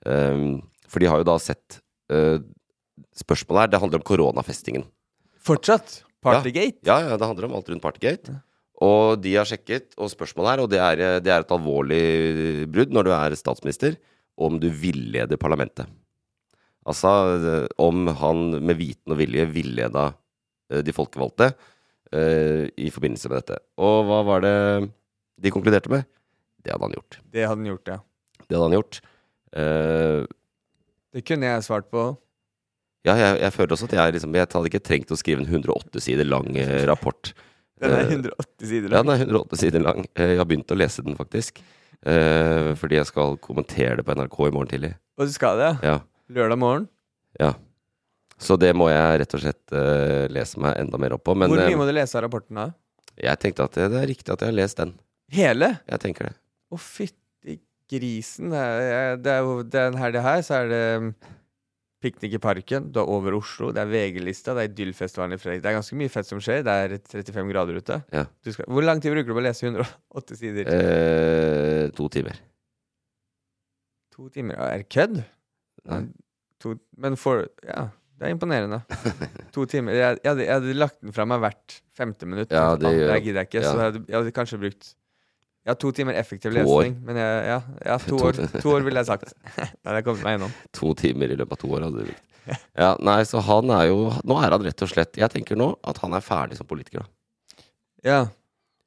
S2: Ehm, for de har jo da sett øh, Spørsmålet her, det handler om koronafestingen.
S1: Fortsatt! Partygate.
S2: Ja, ja, det handler om alt rundt Partygate. Og de har sjekket, og spørsmålet her, og det er, eh, det er et alvorlig brudd når du er statsminister, om du villeder parlamentet. Altså eh, om han med viten og vilje villeda eh, de folkevalgte eh, i forbindelse med dette. Og hva var det de konkluderte med? Det hadde han gjort.
S1: Det hadde han gjort, ja.
S2: Det hadde han gjort. Eh,
S1: Det kunne jeg svart på.
S2: ja, jeg, jeg føler også at jeg liksom Jeg hadde ikke trengt å skrive en 108 sider lang eh, rapport.
S1: Den er
S2: Eh,
S1: 180 sider
S2: Ja,
S1: lang.
S2: den er 108 sider lang. Eh, Jeg har begynt å lese den, faktisk. Eh, fordi jeg skal kommentere det på NRK i morgen tidlig.
S1: Og du skal det, ja.
S2: Ja,
S1: Lørdag morgen.
S2: ja. Så det må jeg rett og slett eh, lese meg enda mer opp på. Men
S1: Hvor mye
S2: eh,
S1: må du lese av rapporten da?
S2: jeg tenkte at det, det er riktig at jeg har lest den.
S1: Hele?
S2: Jeg tenker det.
S1: Å, fytti grisen. Det er, det er jo den helga her, så er det um, Piknik i parken, du er over Oslo, det er VG-lista, det er Idyllfestivalen i Fredrik. Det er ganske mye fett som skjer. Det er 35 grader ute.
S2: Ja.
S1: Du skal, hvor lang tid bruker du på å lese 108 sider?
S2: Eh, to timer.
S1: to timer? Ja, Er det kødd?
S2: Nei.
S1: To, men for Ja, det er imponerende. to timer. Jeg, jeg, hadde, jeg hadde lagt den fra meg hvert femte minutt.
S2: Ja,
S1: Jeg tenkte,
S2: det
S1: "Ah,
S2: gjør-
S1: her gidder jeg
S2: ja.
S1: ikke. Så jeg hadde, jeg hadde kanskje brukt ja, to timer effektiv
S2: To år.
S1: lesning. Men jeg, ja, ja, to,
S2: To-
S1: år, to år ville jeg sagt. Da hadde jeg kommet meg gjennom.
S2: To timer i løpet av to år. Hadde det blitt. ja, nei, så han er jo Nå er han rett og slett Jeg tenker nå at han er ferdig som politiker. Da.
S1: Ja.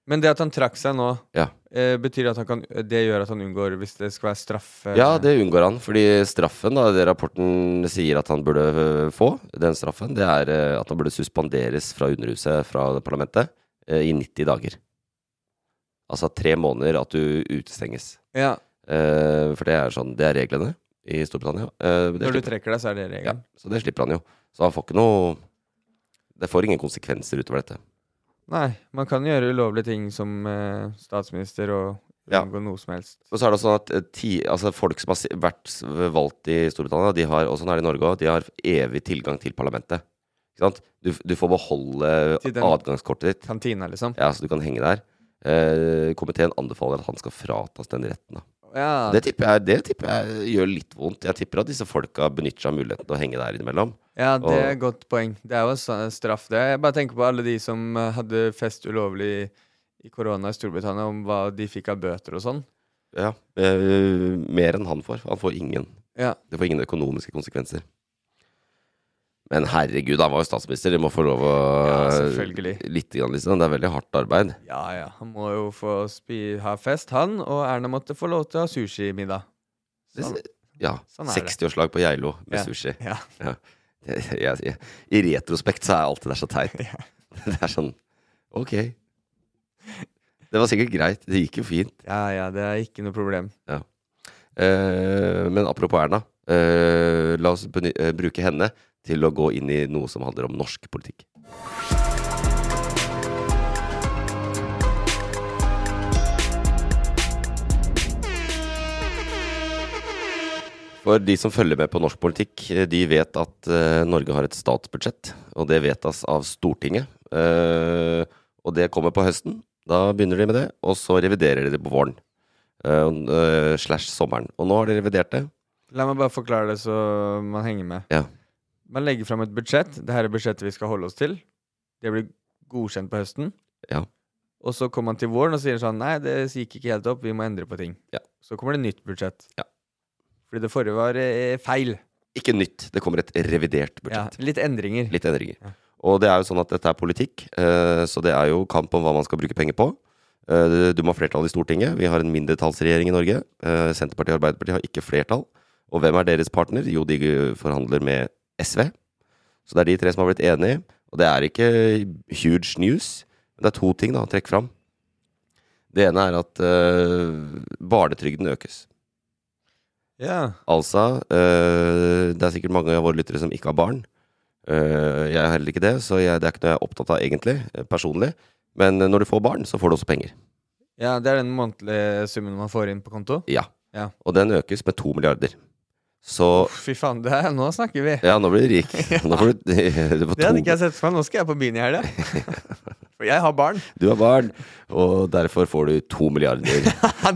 S1: Men det at han trakk seg nå,
S2: Ja.
S1: eh, betyr at han kan, det gjør at han unngår hvis det skal være straff? eh,
S2: Ja, det unngår han. Fordi straffen da, det rapporten sier at han burde øh, få, den straffen, det er øh, at han burde suspenderes fra Underhuset, fra parlamentet, øh, i 90 dager. Altså tre måneder at du utestenges.
S1: ja.
S2: Eh, For det er sånn, det er reglene i Storbritannia. Eh, Det
S1: Når du
S2: slipper,
S1: trekker deg, så er det
S2: ja,
S1: regelen.
S2: så det slipper han jo. Så han får ikke noe Det får ingen konsekvenser utover dette.
S1: Nei, man kan gjøre ulovlige ting som eh, statsminister og
S2: Ja.
S1: unngå noe som helst.
S2: Og så er det sånn at eh, ti, altså folk som har si- vært s- valgt i Storbritannia, de har, og sånn er det i Norge òg, de har evig tilgang til parlamentet. Ikke sant? Du, f- du får beholde
S1: Til den-
S2: adgangskortet ditt,
S1: Kantina, liksom.
S2: ja, så du kan henge der. Eh, komiteen anbefaler at han skal fratas den retten. Da.
S1: Ja,
S2: Det, tipper jeg, det tipper jeg gjør litt vondt. Jeg tipper at disse folka benytter seg av muligheten til å henge der innimellom.
S1: Ja, det er
S2: Og-
S1: et godt poeng. Det er jo en sånn straff, det. Jeg bare tenker på alle de som eh, hadde fest ulovlig i- i korona i Storbritannia, om hva de fikk av bøter og sånn.
S2: Ja, eh, mer enn han får. Han får ingen.
S1: Ja.
S2: Det får ingen økonomiske konsekvenser. Men herregud, han var jo statsminister. De må få lov å
S1: Ja, selvfølgelig.
S2: Litt, grann, liksom. Det er veldig hardt arbeid.
S1: Ja ja, han må jo få spi ha fest, han, og Erna måtte få lov til å ha sushimiddag. Sånn.
S2: Ja.
S1: Sånn er det.
S2: 60-årslag på Geilo med
S1: Ja.
S2: sushi.
S1: Ja.
S2: Ja. Jeg, jeg, jeg, I retrospekt så er alt det der så teit. Det er sånn Ok. Det var sikkert greit. Det gikk jo fint.
S1: ja ja, det er ikke noe problem.
S2: Eh, men apropos Erna. eh, la oss beny eh, bruke henne til å gå inn i noe som handler om norsk politikk. For de som følger med på norsk politikk, eh, de vet at eh, Norge har et statsbudsjett. Og det vedtas av Stortinget. Eh, og det kommer på høsten. Da begynner de med det, og så reviderer de det på våren. eh, og, eh, slash sommeren. Og nå har de revidert det.
S1: La meg bare forklare det så man henger med.
S2: Ja.
S1: Man legger fram et budsjett. Det her er budsjettet vi skal holde oss til. Det blir godkjent på høsten.
S2: Ja.
S1: Og så kommer man til våren og sier sånn Nei, det gikk ikke helt opp. Vi må endre på ting.
S2: Ja.
S1: Så kommer det nytt budsjett.
S2: Ja.
S1: Fordi det forrige var eh, feil.
S2: Ikke nytt. Det kommer et revidert
S1: Ja,
S2: budsjett.
S1: litt endringer.
S2: Litt endringer.
S1: Ja.
S2: Og det er jo sånn at dette er politikk, eh, så det er jo kamp om hva man skal bruke penger på. Eh, Du må ha flertall i Stortinget. Vi har en mindretallsregjering i Norge. Eh, Senterpartiet og Arbeiderpartiet har ikke flertall. Og hvem er deres partner? Jo, de eh, forhandler med SV. Så det er de tre som har blitt enige. Og det er ikke huge news, men det er to ting da, å trekke fram. Det ene er at eh, barnetrygden økes.
S1: Ja.
S2: Altså, øh, det er sikkert mange av våre lyttere som ikke har barn. Øh, jeg har heller ikke det, så jeg, det er ikke noe jeg er opptatt av egentlig, øh, personlig. Men øh, når du får barn, så får du også penger.
S1: ja, det er den månedlige summen man får inn på konto.
S2: Ja.
S1: Ja.
S2: Og den økes med to milliarder. Så
S1: Fy faen, det her, nå snakker vi.
S2: Ja, nå blir du rik. Nå får du, du, får
S1: Det hadde
S2: to,
S1: ikke jeg sett for meg. Nå skal jeg på byen i helga. For jeg har barn.
S2: du har barn, og derfor får du to milliarder.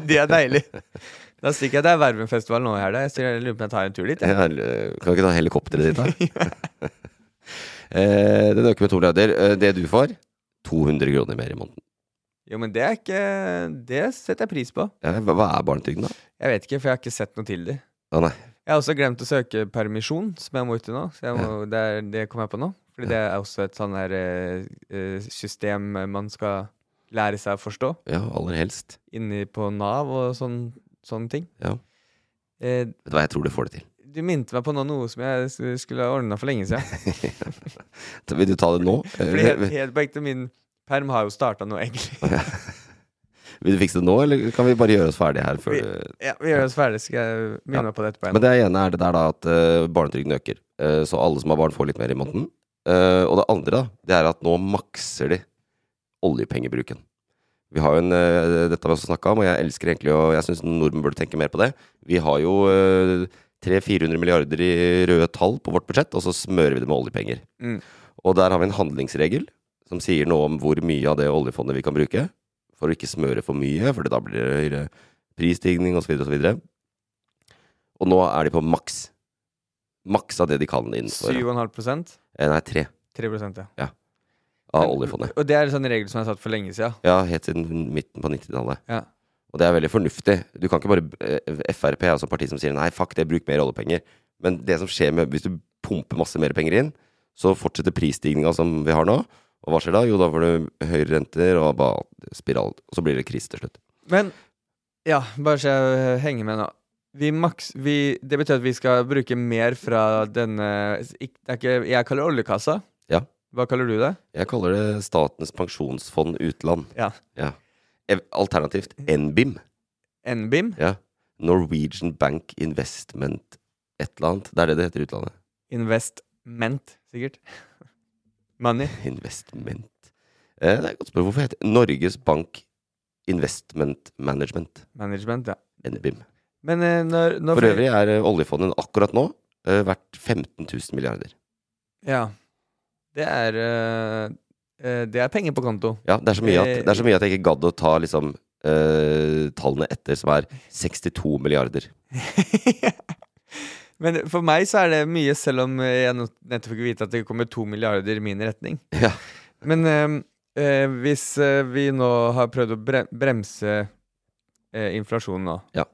S1: det er deilig. Da stikker jeg til Vervenfestivalen nå i helga. Jeg sier- jeg lurer på om jeg tar en tur dit. jeg.
S2: Ja, eller, eh, kan du ikke ta helikopteret ditt, da? Eh, den øker med to milliarder. Eh, Det du får, 200 kroner mer i måneden.
S1: Jo, men det er ikke Det setter jeg pris på.
S2: Ja, hva hva er barnetrygden, da?
S1: Jeg vet ikke, for jeg har ikke sett noe til de.
S2: Å, nei.
S1: Jeg har også glemt å søke permisjon, som jeg må ut i nå. Så jeg må, det, er, det kom jeg på nå. Fordi det er også et sånn her eh, eh, system man skal lære seg å forstå.
S2: Ja, aller helst.
S1: Inni på Nav og sånn, sånne ting.
S2: Ja.
S1: Eh,
S2: Vet du hva, jeg tror du får det til.
S1: du minte meg på nå noe som jeg s- skulle ha ordna for lenge siden.
S2: Så Vil du ta det nå? Eh,
S1: Fordi helt, helt på ekte, min perm har jo starta nå, egentlig.
S2: Vil du fikse det nå, eller kan vi bare gjøre oss ferdige her? Før?
S1: Ja, vi gjør oss ferdig, skal jeg
S2: Ja.
S1: minne meg på det etterpå.
S2: Men det ene er det der da at eh, barnetrygden øker. Eh, så alle som har barn, får litt mer i måneden. Eh, og det andre da, det er at nå makser de oljepengebruken. Vi har jo en, eh, Dette har vi også snakka om, og jeg elsker egentlig og jeg syns nordmenn burde tenke mer på det. Vi har jo eh, 300-400 milliarder i røde tall på vårt budsjett, og så smører vi det med oljepenger.
S1: Mm.
S2: Og der har vi en handlingsregel som sier noe om hvor mye av det oljefondet vi kan bruke. For å ikke smøre for mye, for da blir det høyere prisstigning osv. Og, så videre. og nå er de på maks. Maks av det de kan innenfor.
S1: 7,5
S2: Eh, Nei, tre
S1: 3 ja.
S2: av
S1: Men-
S2: oljefondet.
S1: Og det er en sånn regel som jeg har satt for lenge siden.
S2: Ja, helt siden midten på 90-tallet.
S1: Ja.
S2: Og det er veldig fornuftig. Du kan ikke bare eh, Frp er også et parti som sier nei, fuck det, bruk mer oljepenger. Men det som skjer med hvis du pumper masse mer penger inn, så fortsetter prisstigninga som vi har nå. Og hva skjer da? Jo, da får du høyere renter og bare spiral. Og så blir det krise til slutt.
S1: Men ja, bare så jeg henger med nå. Vi maks, vi, det betyr at vi skal bruke mer fra denne ikk- det er ikke, Jeg kaller det oljekassa.
S2: Ja.
S1: Hva kaller du det?
S2: Jeg kaller det Statens pensjonsfond utland.
S1: Ja.
S2: Ev- Alternativt NBIM.
S1: NBIM?
S2: Ja. Norwegian Bank Investment et eller annet. Det er det det heter i utlandet.
S1: Investment, sikkert. Money.
S2: Investment. Eh, det er et godt spørsmål. Hvorfor heter det Norges Bank Investment Management?
S1: Management, ja.
S2: NBIM.
S1: Men eh, når, når
S2: For øvrig er eh, oljefondet akkurat nå eh, verdt 15 000 milliarder.
S1: Ja. Det er eh, eh, Det er penger på konto.
S2: Ja, det er så mye at, det er så mye at jeg ikke gadd å ta liksom eh, tallene etter, som er 62 milliarder.
S1: Men for meg så er det mye, selv om eh, jeg nå- nettopp fikk vite at det kommer to milliarder i min retning.
S2: Ja.
S1: Men eh, eh, hvis eh, vi nå har prøvd å bre bremse eh, inflasjonen nå,
S2: Ja.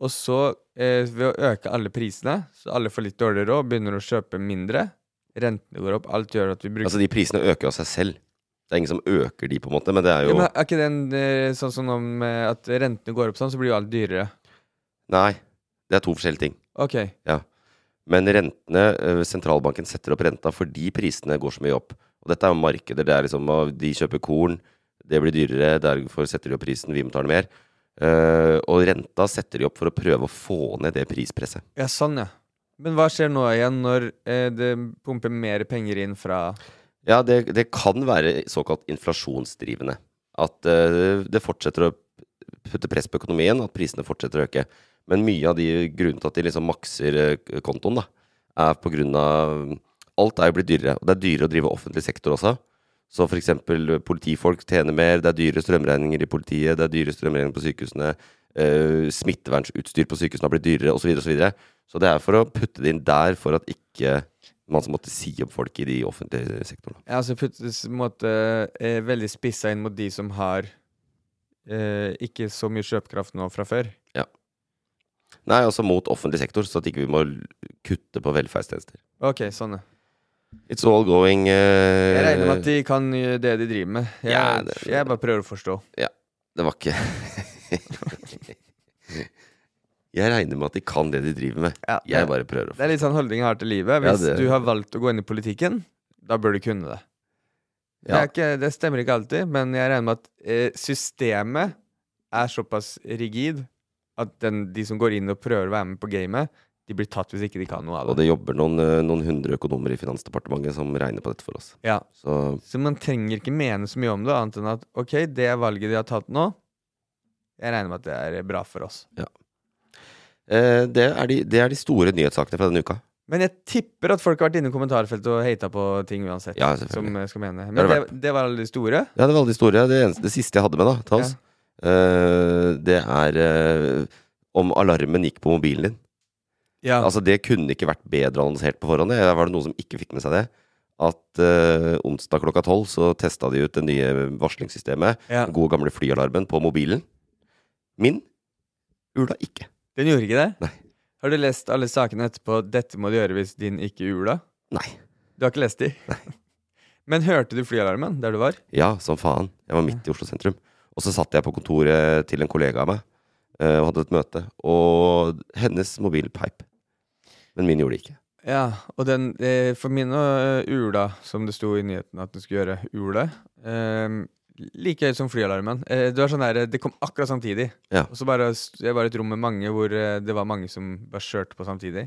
S1: og så eh, ved å øke alle prisene, så alle får litt dårligere råd, begynner å kjøpe mindre, Rentene går opp. Alt gjør at vi bruker
S2: Altså, de prisene øker av seg selv. Det er ingen som øker de, på en måte, men det er
S1: ja,
S2: jo
S1: men Er ikke den eh, sånn som om eh, at rentene går opp sånn, så blir jo alt dyrere?
S2: Nei, det er to forskjellige ting.
S1: OK.
S2: Men rentene, eh, sentralbanken setter opp renta fordi prisene går så mye opp. Og dette er jo markeder. Det er liksom ah, De kjøper korn, det blir dyrere, derfor setter de opp prisen, vi må betale mer. Eh, og renta setter de opp for å prøve å få ned det prispresset.
S1: Ja, sånn, ja. Men hva skjer nå igjen, når eh, det pumper mer penger inn fra
S2: Ja, det, det kan være såkalt inflasjonsdrivende. At eh, det fortsetter å putte press på økonomien, at prisene fortsetter å øke. Men mye av de grunnen til at de liksom makser eh, kontoen, da, er på grunn av Alt er jo blitt dyrere. Og det er dyrere å drive offentlig sektor også. Så f.eks. politifolk tjener mer, det er dyre strømregninger i politiet, det er dyre strømregninger på sykehusene, eh, smittevernutstyr på sykehusene har blitt dyrere, osv., osv. Så, videre. så det er for å putte det inn der, for at ikke man som måtte si opp folk i de offentlige sektorene.
S1: Ja, altså puttes på en måte eh, veldig spissa inn mot de som har eh, ikke så mye kjøpekraft nå fra før.
S2: Nei, altså mot offentlig sektor, så at ikke vi må l- kutte på velferdstjenester.
S1: OK, sånn, ja.
S2: It's all going eh,
S1: Jeg regner med at de kan gjøre det de driver med. Jeg,
S2: Ja, det-
S1: jeg bare prøver å forstå.
S2: Det var ikke Jeg regner med at de kan det de driver med.
S1: Ja,
S2: Jeg
S1: det,
S2: bare prøver å
S1: det er litt sånn holdning jeg har til livet.
S2: Ja,
S1: Hvis
S2: det-
S1: du har valgt å gå inn i politikken, da bør du kunne det. Det,
S2: Ja.
S1: er ikke, det stemmer ikke alltid, men jeg regner med at eh, systemet er såpass rigid at den, de som går inn og prøver å være med på gamet, de blir tatt hvis ikke de kan noe av
S2: Og
S1: det.
S2: det jobber noen, eh, noen hundre økonomer i Finansdepartementet som regner på dette for oss.
S1: Ja.
S2: Så
S1: Så man trenger ikke mene så mye om det, annet enn at OK, det er valget de har tatt nå. Jeg regner med at det er bra for oss.
S2: eh, det, er de, det er de store nyhetssakene fra denne uka.
S1: Men jeg tipper at folk har vært inne i kommentarfeltet og hata på ting uansett.
S2: Ja,
S1: som
S2: selvfølgelig.
S1: jeg skal mene.
S2: Det
S1: Men
S2: har
S1: det,
S2: det
S1: det var alle de store.
S2: Ja, det var alle de store. Det, eneste, det siste jeg hadde med, da, til oss, eh, det er eh, om alarmen gikk på mobilen din.
S1: Ja.
S2: Altså Det kunne ikke vært bedre annonsert på forhånd. Det var det noen som ikke fikk med seg det. At eh, onsdag klokka tolv så testa de ut det nye varslingssystemet.
S1: ja.
S2: Den gode gamle flyalarmen på mobilen. Min ula ikke.
S1: Den gjorde ikke det?
S2: Nei.
S1: Har du lest alle sakene etterpå 'Dette må du gjøre hvis din ikke ula'?
S2: Nei.
S1: Du har ikke lest de? Men hørte du flyalarmen der du var?
S2: Ja, som faen. Jeg var midt i Oslo sentrum. Og så satt jeg på kontoret til en kollega av meg eh, og hadde et møte. Og hennes mobil peip. Men min gjorde det ikke.
S1: Ja, og den eh, For min og ula, som det sto i nyheten at den skulle gjøre, ule eh, Like høyt som flyalarmen. Eh, det var sånn der, eh, det kom akkurat samtidig.
S2: Ja.
S1: Og så bare, s- Det var et rom med mange hvor eh, det var mange som bare kjørte på samtidig.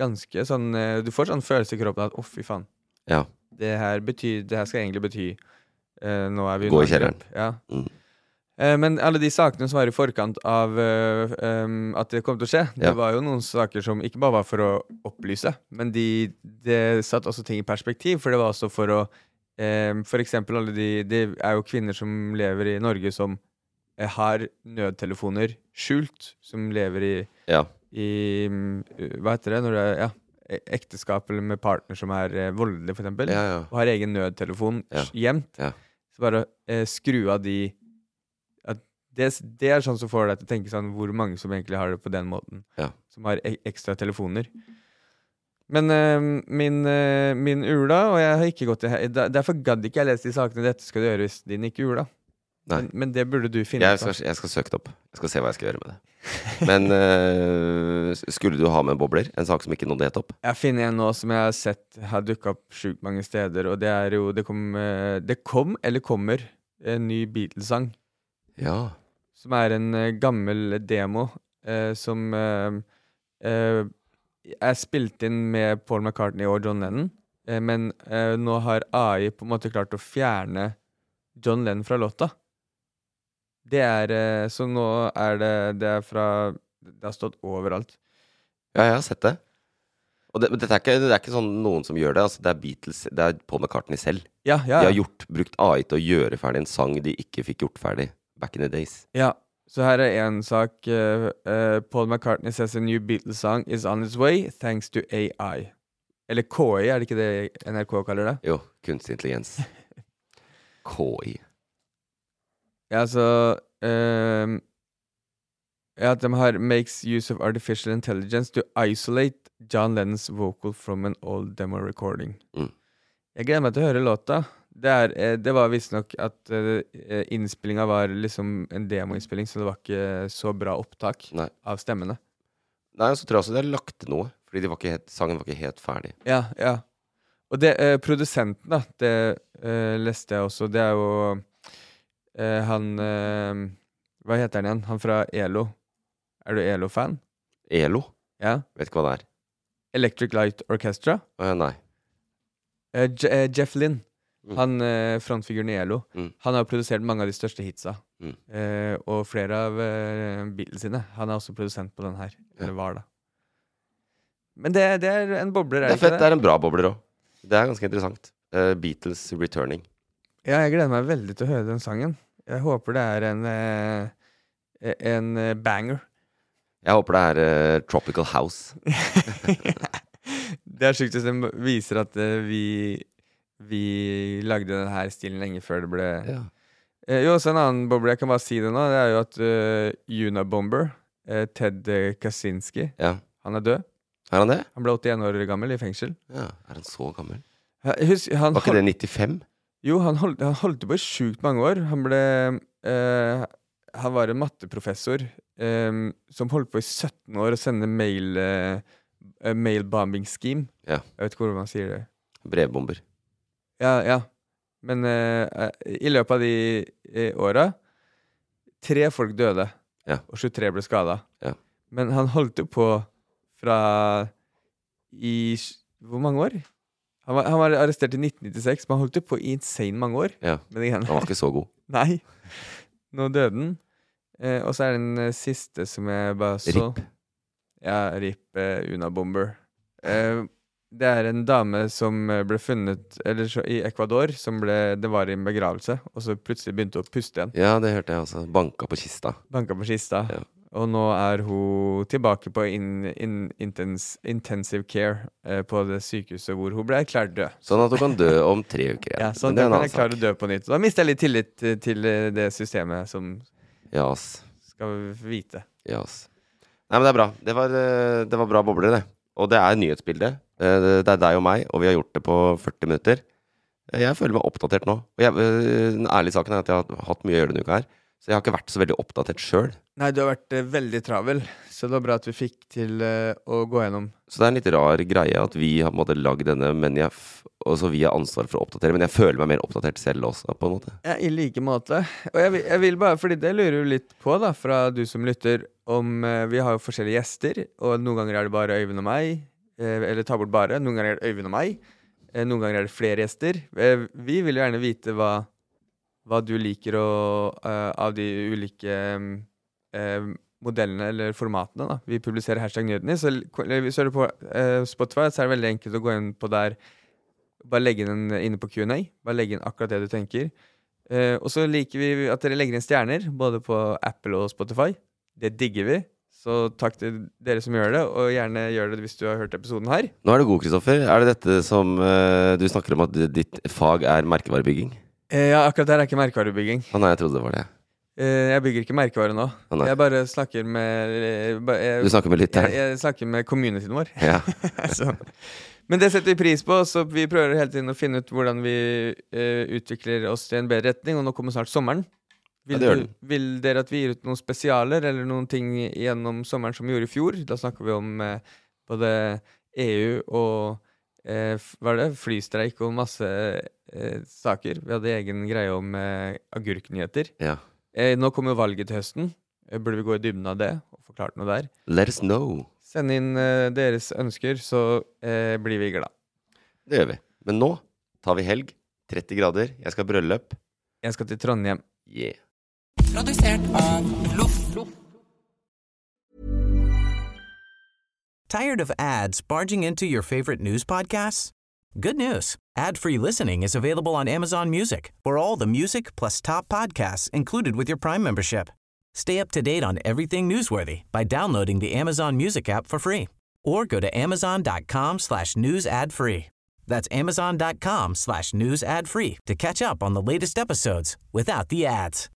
S1: Ganske sånn eh, Du får sånn følelse i kroppen at å, fy faen.
S2: Ja.
S1: Det her, betyr, det her skal egentlig bety eh, Nå er vi
S2: Gå i
S1: under
S2: kjelleren.
S1: angrep. Ja.
S2: Mm.
S1: Eh, men alle de sakene som var i forkant av eh, em, at det kom til å skje,
S2: Ja.
S1: det var jo noen saker som ikke bare var for å opplyse, men de, det satt også ting i perspektiv, for det var også for å em, For eksempel alle de Det er jo kvinner som lever i Norge som eh, har nødtelefoner skjult, som lever i
S2: Ja.
S1: i mm, Hva heter det når det er ja, e- ekteskap eller med partner som er eh, voldelig, for eksempel,
S2: ja, ja.
S1: og har egen nødtelefon
S2: Ja.
S1: s- gjemt,
S2: Ja.
S1: så bare eh, skru av de at det, s- det er sånn som får deg til å tenke sånn hvor mange som egentlig har det på den måten,
S2: Ja.
S1: som har e ekstra telefoner. Men eh, min, eh, min ula, og jeg har ikke gått i he- der- Derfor gadd ikke jeg lese de sakene dette skal du gjøre hvis din ikke ula.
S2: Nei.
S1: Men, men det burde du finne
S2: Jeg
S1: ut av.
S2: skal, jeg skal søke det opp. Jeg skal se hva jeg skal gjøre med det. Men eh, skulle du ha med bobler? En sak som ikke nådde helt opp?
S1: Jeg finner en nå som jeg har sett har dukka opp sjukt mange steder, og det er jo Det kom, eh, det kom eller kommer en ny Beatles-sang,
S2: Ja.
S1: som er en eh, gammel demo eh, som eh, eh, er spilt inn med Paul McCartney og John Lennon, eh, men eh, nå har AI på en måte klart å fjerne John Lennon fra låta. Det er eh, Så nå er det Det er fra Det har stått overalt.
S2: Ja, jeg har sett det. Og det, men dette er ikke, det er ikke sånn noen som gjør det. Altså, det er Beatles, det er Paul McCartney selv.
S1: Ja,
S2: De
S1: ja.
S2: har gjort, brukt AI til å gjøre ferdig en sang de ikke fikk gjort ferdig back in the days.
S1: Ja, så her er en sak. eh, eh, Paul McCartney says a new Beatles song is on its way thanks to AI. Eller KI, er det ikke det NRK kaller det?
S2: Jo, kunstig intelligens. KI.
S1: Ja, altså ehm, Ja, de har makes use of artificial intelligence to isolate John Lennons vocal from an old demo recording.
S2: Mm.
S1: Jeg gleder meg til å høre låta. Det, er, eh, det var visstnok at eh, innspillinga var liksom en demoinnspilling, så det var ikke så bra opptak
S2: Nei.
S1: av stemmene.
S2: Nei, og så tror jeg også de har lagt til noe. Fordi de var ikke helt, sangen var ikke helt ferdig.
S1: Ja, ja. Og det, eh, produsenten, da, det eh, leste jeg også, det er jo eh, han eh, Hva heter han igjen? Han fra ELO. Er du ELO-fan?
S2: ELO?
S1: Ja.
S2: Vet ikke hva det er.
S1: Electric Light Orchestra.
S2: Å ja, nei.
S1: Eh, Je eh, Jeff Lynn,
S2: Mm.
S1: han eh, frontfiguren i ELO,
S2: Mm.
S1: han har produsert mange av de største hitsa.
S2: Mm.
S1: Eh, og flere av eh, Beatles sine. Han er også produsent på den her. Eller var, da. Men det, det er en bobler,
S2: Det er
S1: er det ikke
S2: fett.
S1: det?
S2: Det er en bra bobler òg. Det er ganske interessant. Eh, Beatles returning.
S1: Ja, jeg gleder meg veldig til å høre den sangen. Jeg håper det er en eh, en eh, banger.
S2: Jeg håper det er eh, Tropical House.
S1: det er sjukt hvis den viser at eh, vi vi lagde den her stilen lenge før det ble eh, Jo, også en annen boble, jeg kan bare si det nå, det er jo at eh, Unabomber, eh, Ted Kaczynski,
S2: Ja.
S1: han er død.
S2: Er han det?
S1: Han ble 81 år gammel i fengsel.
S2: Ja. Er han så gammel?
S1: Ja, Husk, han
S2: Var ikke det 95?
S1: Jo, han holdt, han holdt på i sjukt mange år. Han ble eh, Han var en matteprofessor eh, som holdt på i 17 år å sende mail eh, eh, Mail bombing scheme.
S2: Ja.
S1: Jeg vet ikke hvordan man sier det.
S2: Brevbomber.
S1: Ja, ja. Men eh, eh, i løpet av de eh, åra Tre folk døde,
S2: Ja.
S1: og 23 ble skada.
S2: Ja.
S1: Men han holdt jo på fra i sj- Hvor mange år? Han var, han var arrestert i 1996, men han holdt jo på i insane mange år.
S2: Ja.
S1: Men igjen,
S2: Han var ikke så god.
S1: nei. Nå døde den. Eh, og så er det den eh, siste som jeg bare så.
S2: Rip.
S1: Ja, RIP eh, Una Bomber. Eh, det er en dame som eh, ble funnet eller, så, i Ecuador. Som ble, det var i en begravelse, og så plutselig begynte hun å puste igjen.
S2: Ja, det hørte jeg også. Banka på kista.
S1: Banka på kista.
S2: Ja.
S1: Og nå er hun tilbake på in, in, intens, intensive care eh, på det sykehuset hvor hun ble erklært død.
S2: Sånn at hun kan dø om tre uker.
S1: Ja,
S2: igjen.
S1: så
S2: Men det er en
S1: da kan
S2: annen
S1: jeg klare å
S2: sak.
S1: dø på nytt. Da mister jeg litt tillit eh, til eh, det systemet som
S2: Ja, ass.
S1: skal vite.
S2: Ja, ass. Nei, men det er bra. Det var, eh, det var bra bobler, det. Og det er nyhetsbildet. Eh, Det det er deg og meg, og vi har gjort det på 40 minutter. Eh, Jeg føler meg oppdatert nå. Og jeg, eh, den ærlige saken er at jeg har hatt mye å gjøre denne uka her. Så jeg har ikke vært så veldig oppdatert sjøl.
S1: Nei, du har vært eh, veldig travel, så det var bra at vi fikk til eh, å gå gjennom.
S2: Så det er en litt rar greie at vi har på en måte lagd denne, men jeg, f- og så vi har ansvar for å oppdatere. Men jeg føler meg mer oppdatert selv også, på en måte.
S1: Ja, I like måte. Og jeg, vil- jeg vil bare, fordi det lurer jo litt på, da, fra du som lytter, om eh, Vi har jo forskjellige gjester, og noen ganger er det bare Øyvind og meg. eh, eller ta bort bare. Noen ganger er det Øyvind og meg. eh, noen ganger er det flere gjester. Eh, vi vil jo gjerne vite hva, hva du liker å, eh, av de ulike mm, eh, modellene eller formatene. da. Vi publiserer hashtag nyhetene. Så l- ko- eller hvis du hører på eh, Spotify, så er det veldig enkelt å gå inn på der. Bare legge inn en inne på Q&A. Bare legge inn akkurat det du tenker. Eh, og så liker vi at dere legger inn stjerner, både på Apple og Spotify. Det digger vi. Så takk til dere som gjør det, og gjerne gjør det hvis du har hørt episoden her.
S2: Nå er du god, Kristoffer. Er det dette som eh, du snakker om at ditt fag er merkevarebygging?
S1: Eh, ja, akkurat der er ikke merkevarebygging.
S2: Å nei, jeg trodde det var det.
S1: Eh, jeg bygger ikke merkevare nå.
S2: Å nei.
S1: Jeg bare snakker med eh, ba- jeg,
S2: Du snakker med
S1: jeg,
S2: lytteren.
S1: jeg snakker med communityen vår.
S2: Ja.
S1: så. Men det setter vi pris på, så vi prøver hele tiden å finne ut hvordan vi eh, utvikler oss i en bedre retning, og nå kommer snart sommeren.
S2: Ja,
S1: Vil,
S2: det gjør
S1: du, vil dere at vi gir ut noen spesialer eller noen ting gjennom sommeren som vi gjorde i fjor? Da snakker vi om eh, både EU og eh, f- hva er det? flystreik og masse eh, saker. Vi hadde egen greie om eh, agurknyheter.
S2: ja.
S1: Eh, nå kommer jo valget til høsten. Eh, burde vi gå i dybden av det og forklart noe der?
S2: Let us know.
S1: Send inn eh, deres ønsker, så eh, blir vi glad.
S2: Det gjør vi. Men nå tar vi helg. 30 grader. Jeg skal ha bryllup.
S1: Jeg skal til Trondheim.
S2: Yeah.
S4: Produsert av Loff.
S3: Tired of ads barging into your favorite news podcasts? Good news. Ad-free listening is available on Amazon Music for all the music plus top podcasts included with your Prime membership. Stay up to date on everything newsworthy by downloading the Amazon Music app for free or go to amazon.com slash news ad free. That's amazon.com slash news ad free to catch up on the latest episodes without the ads.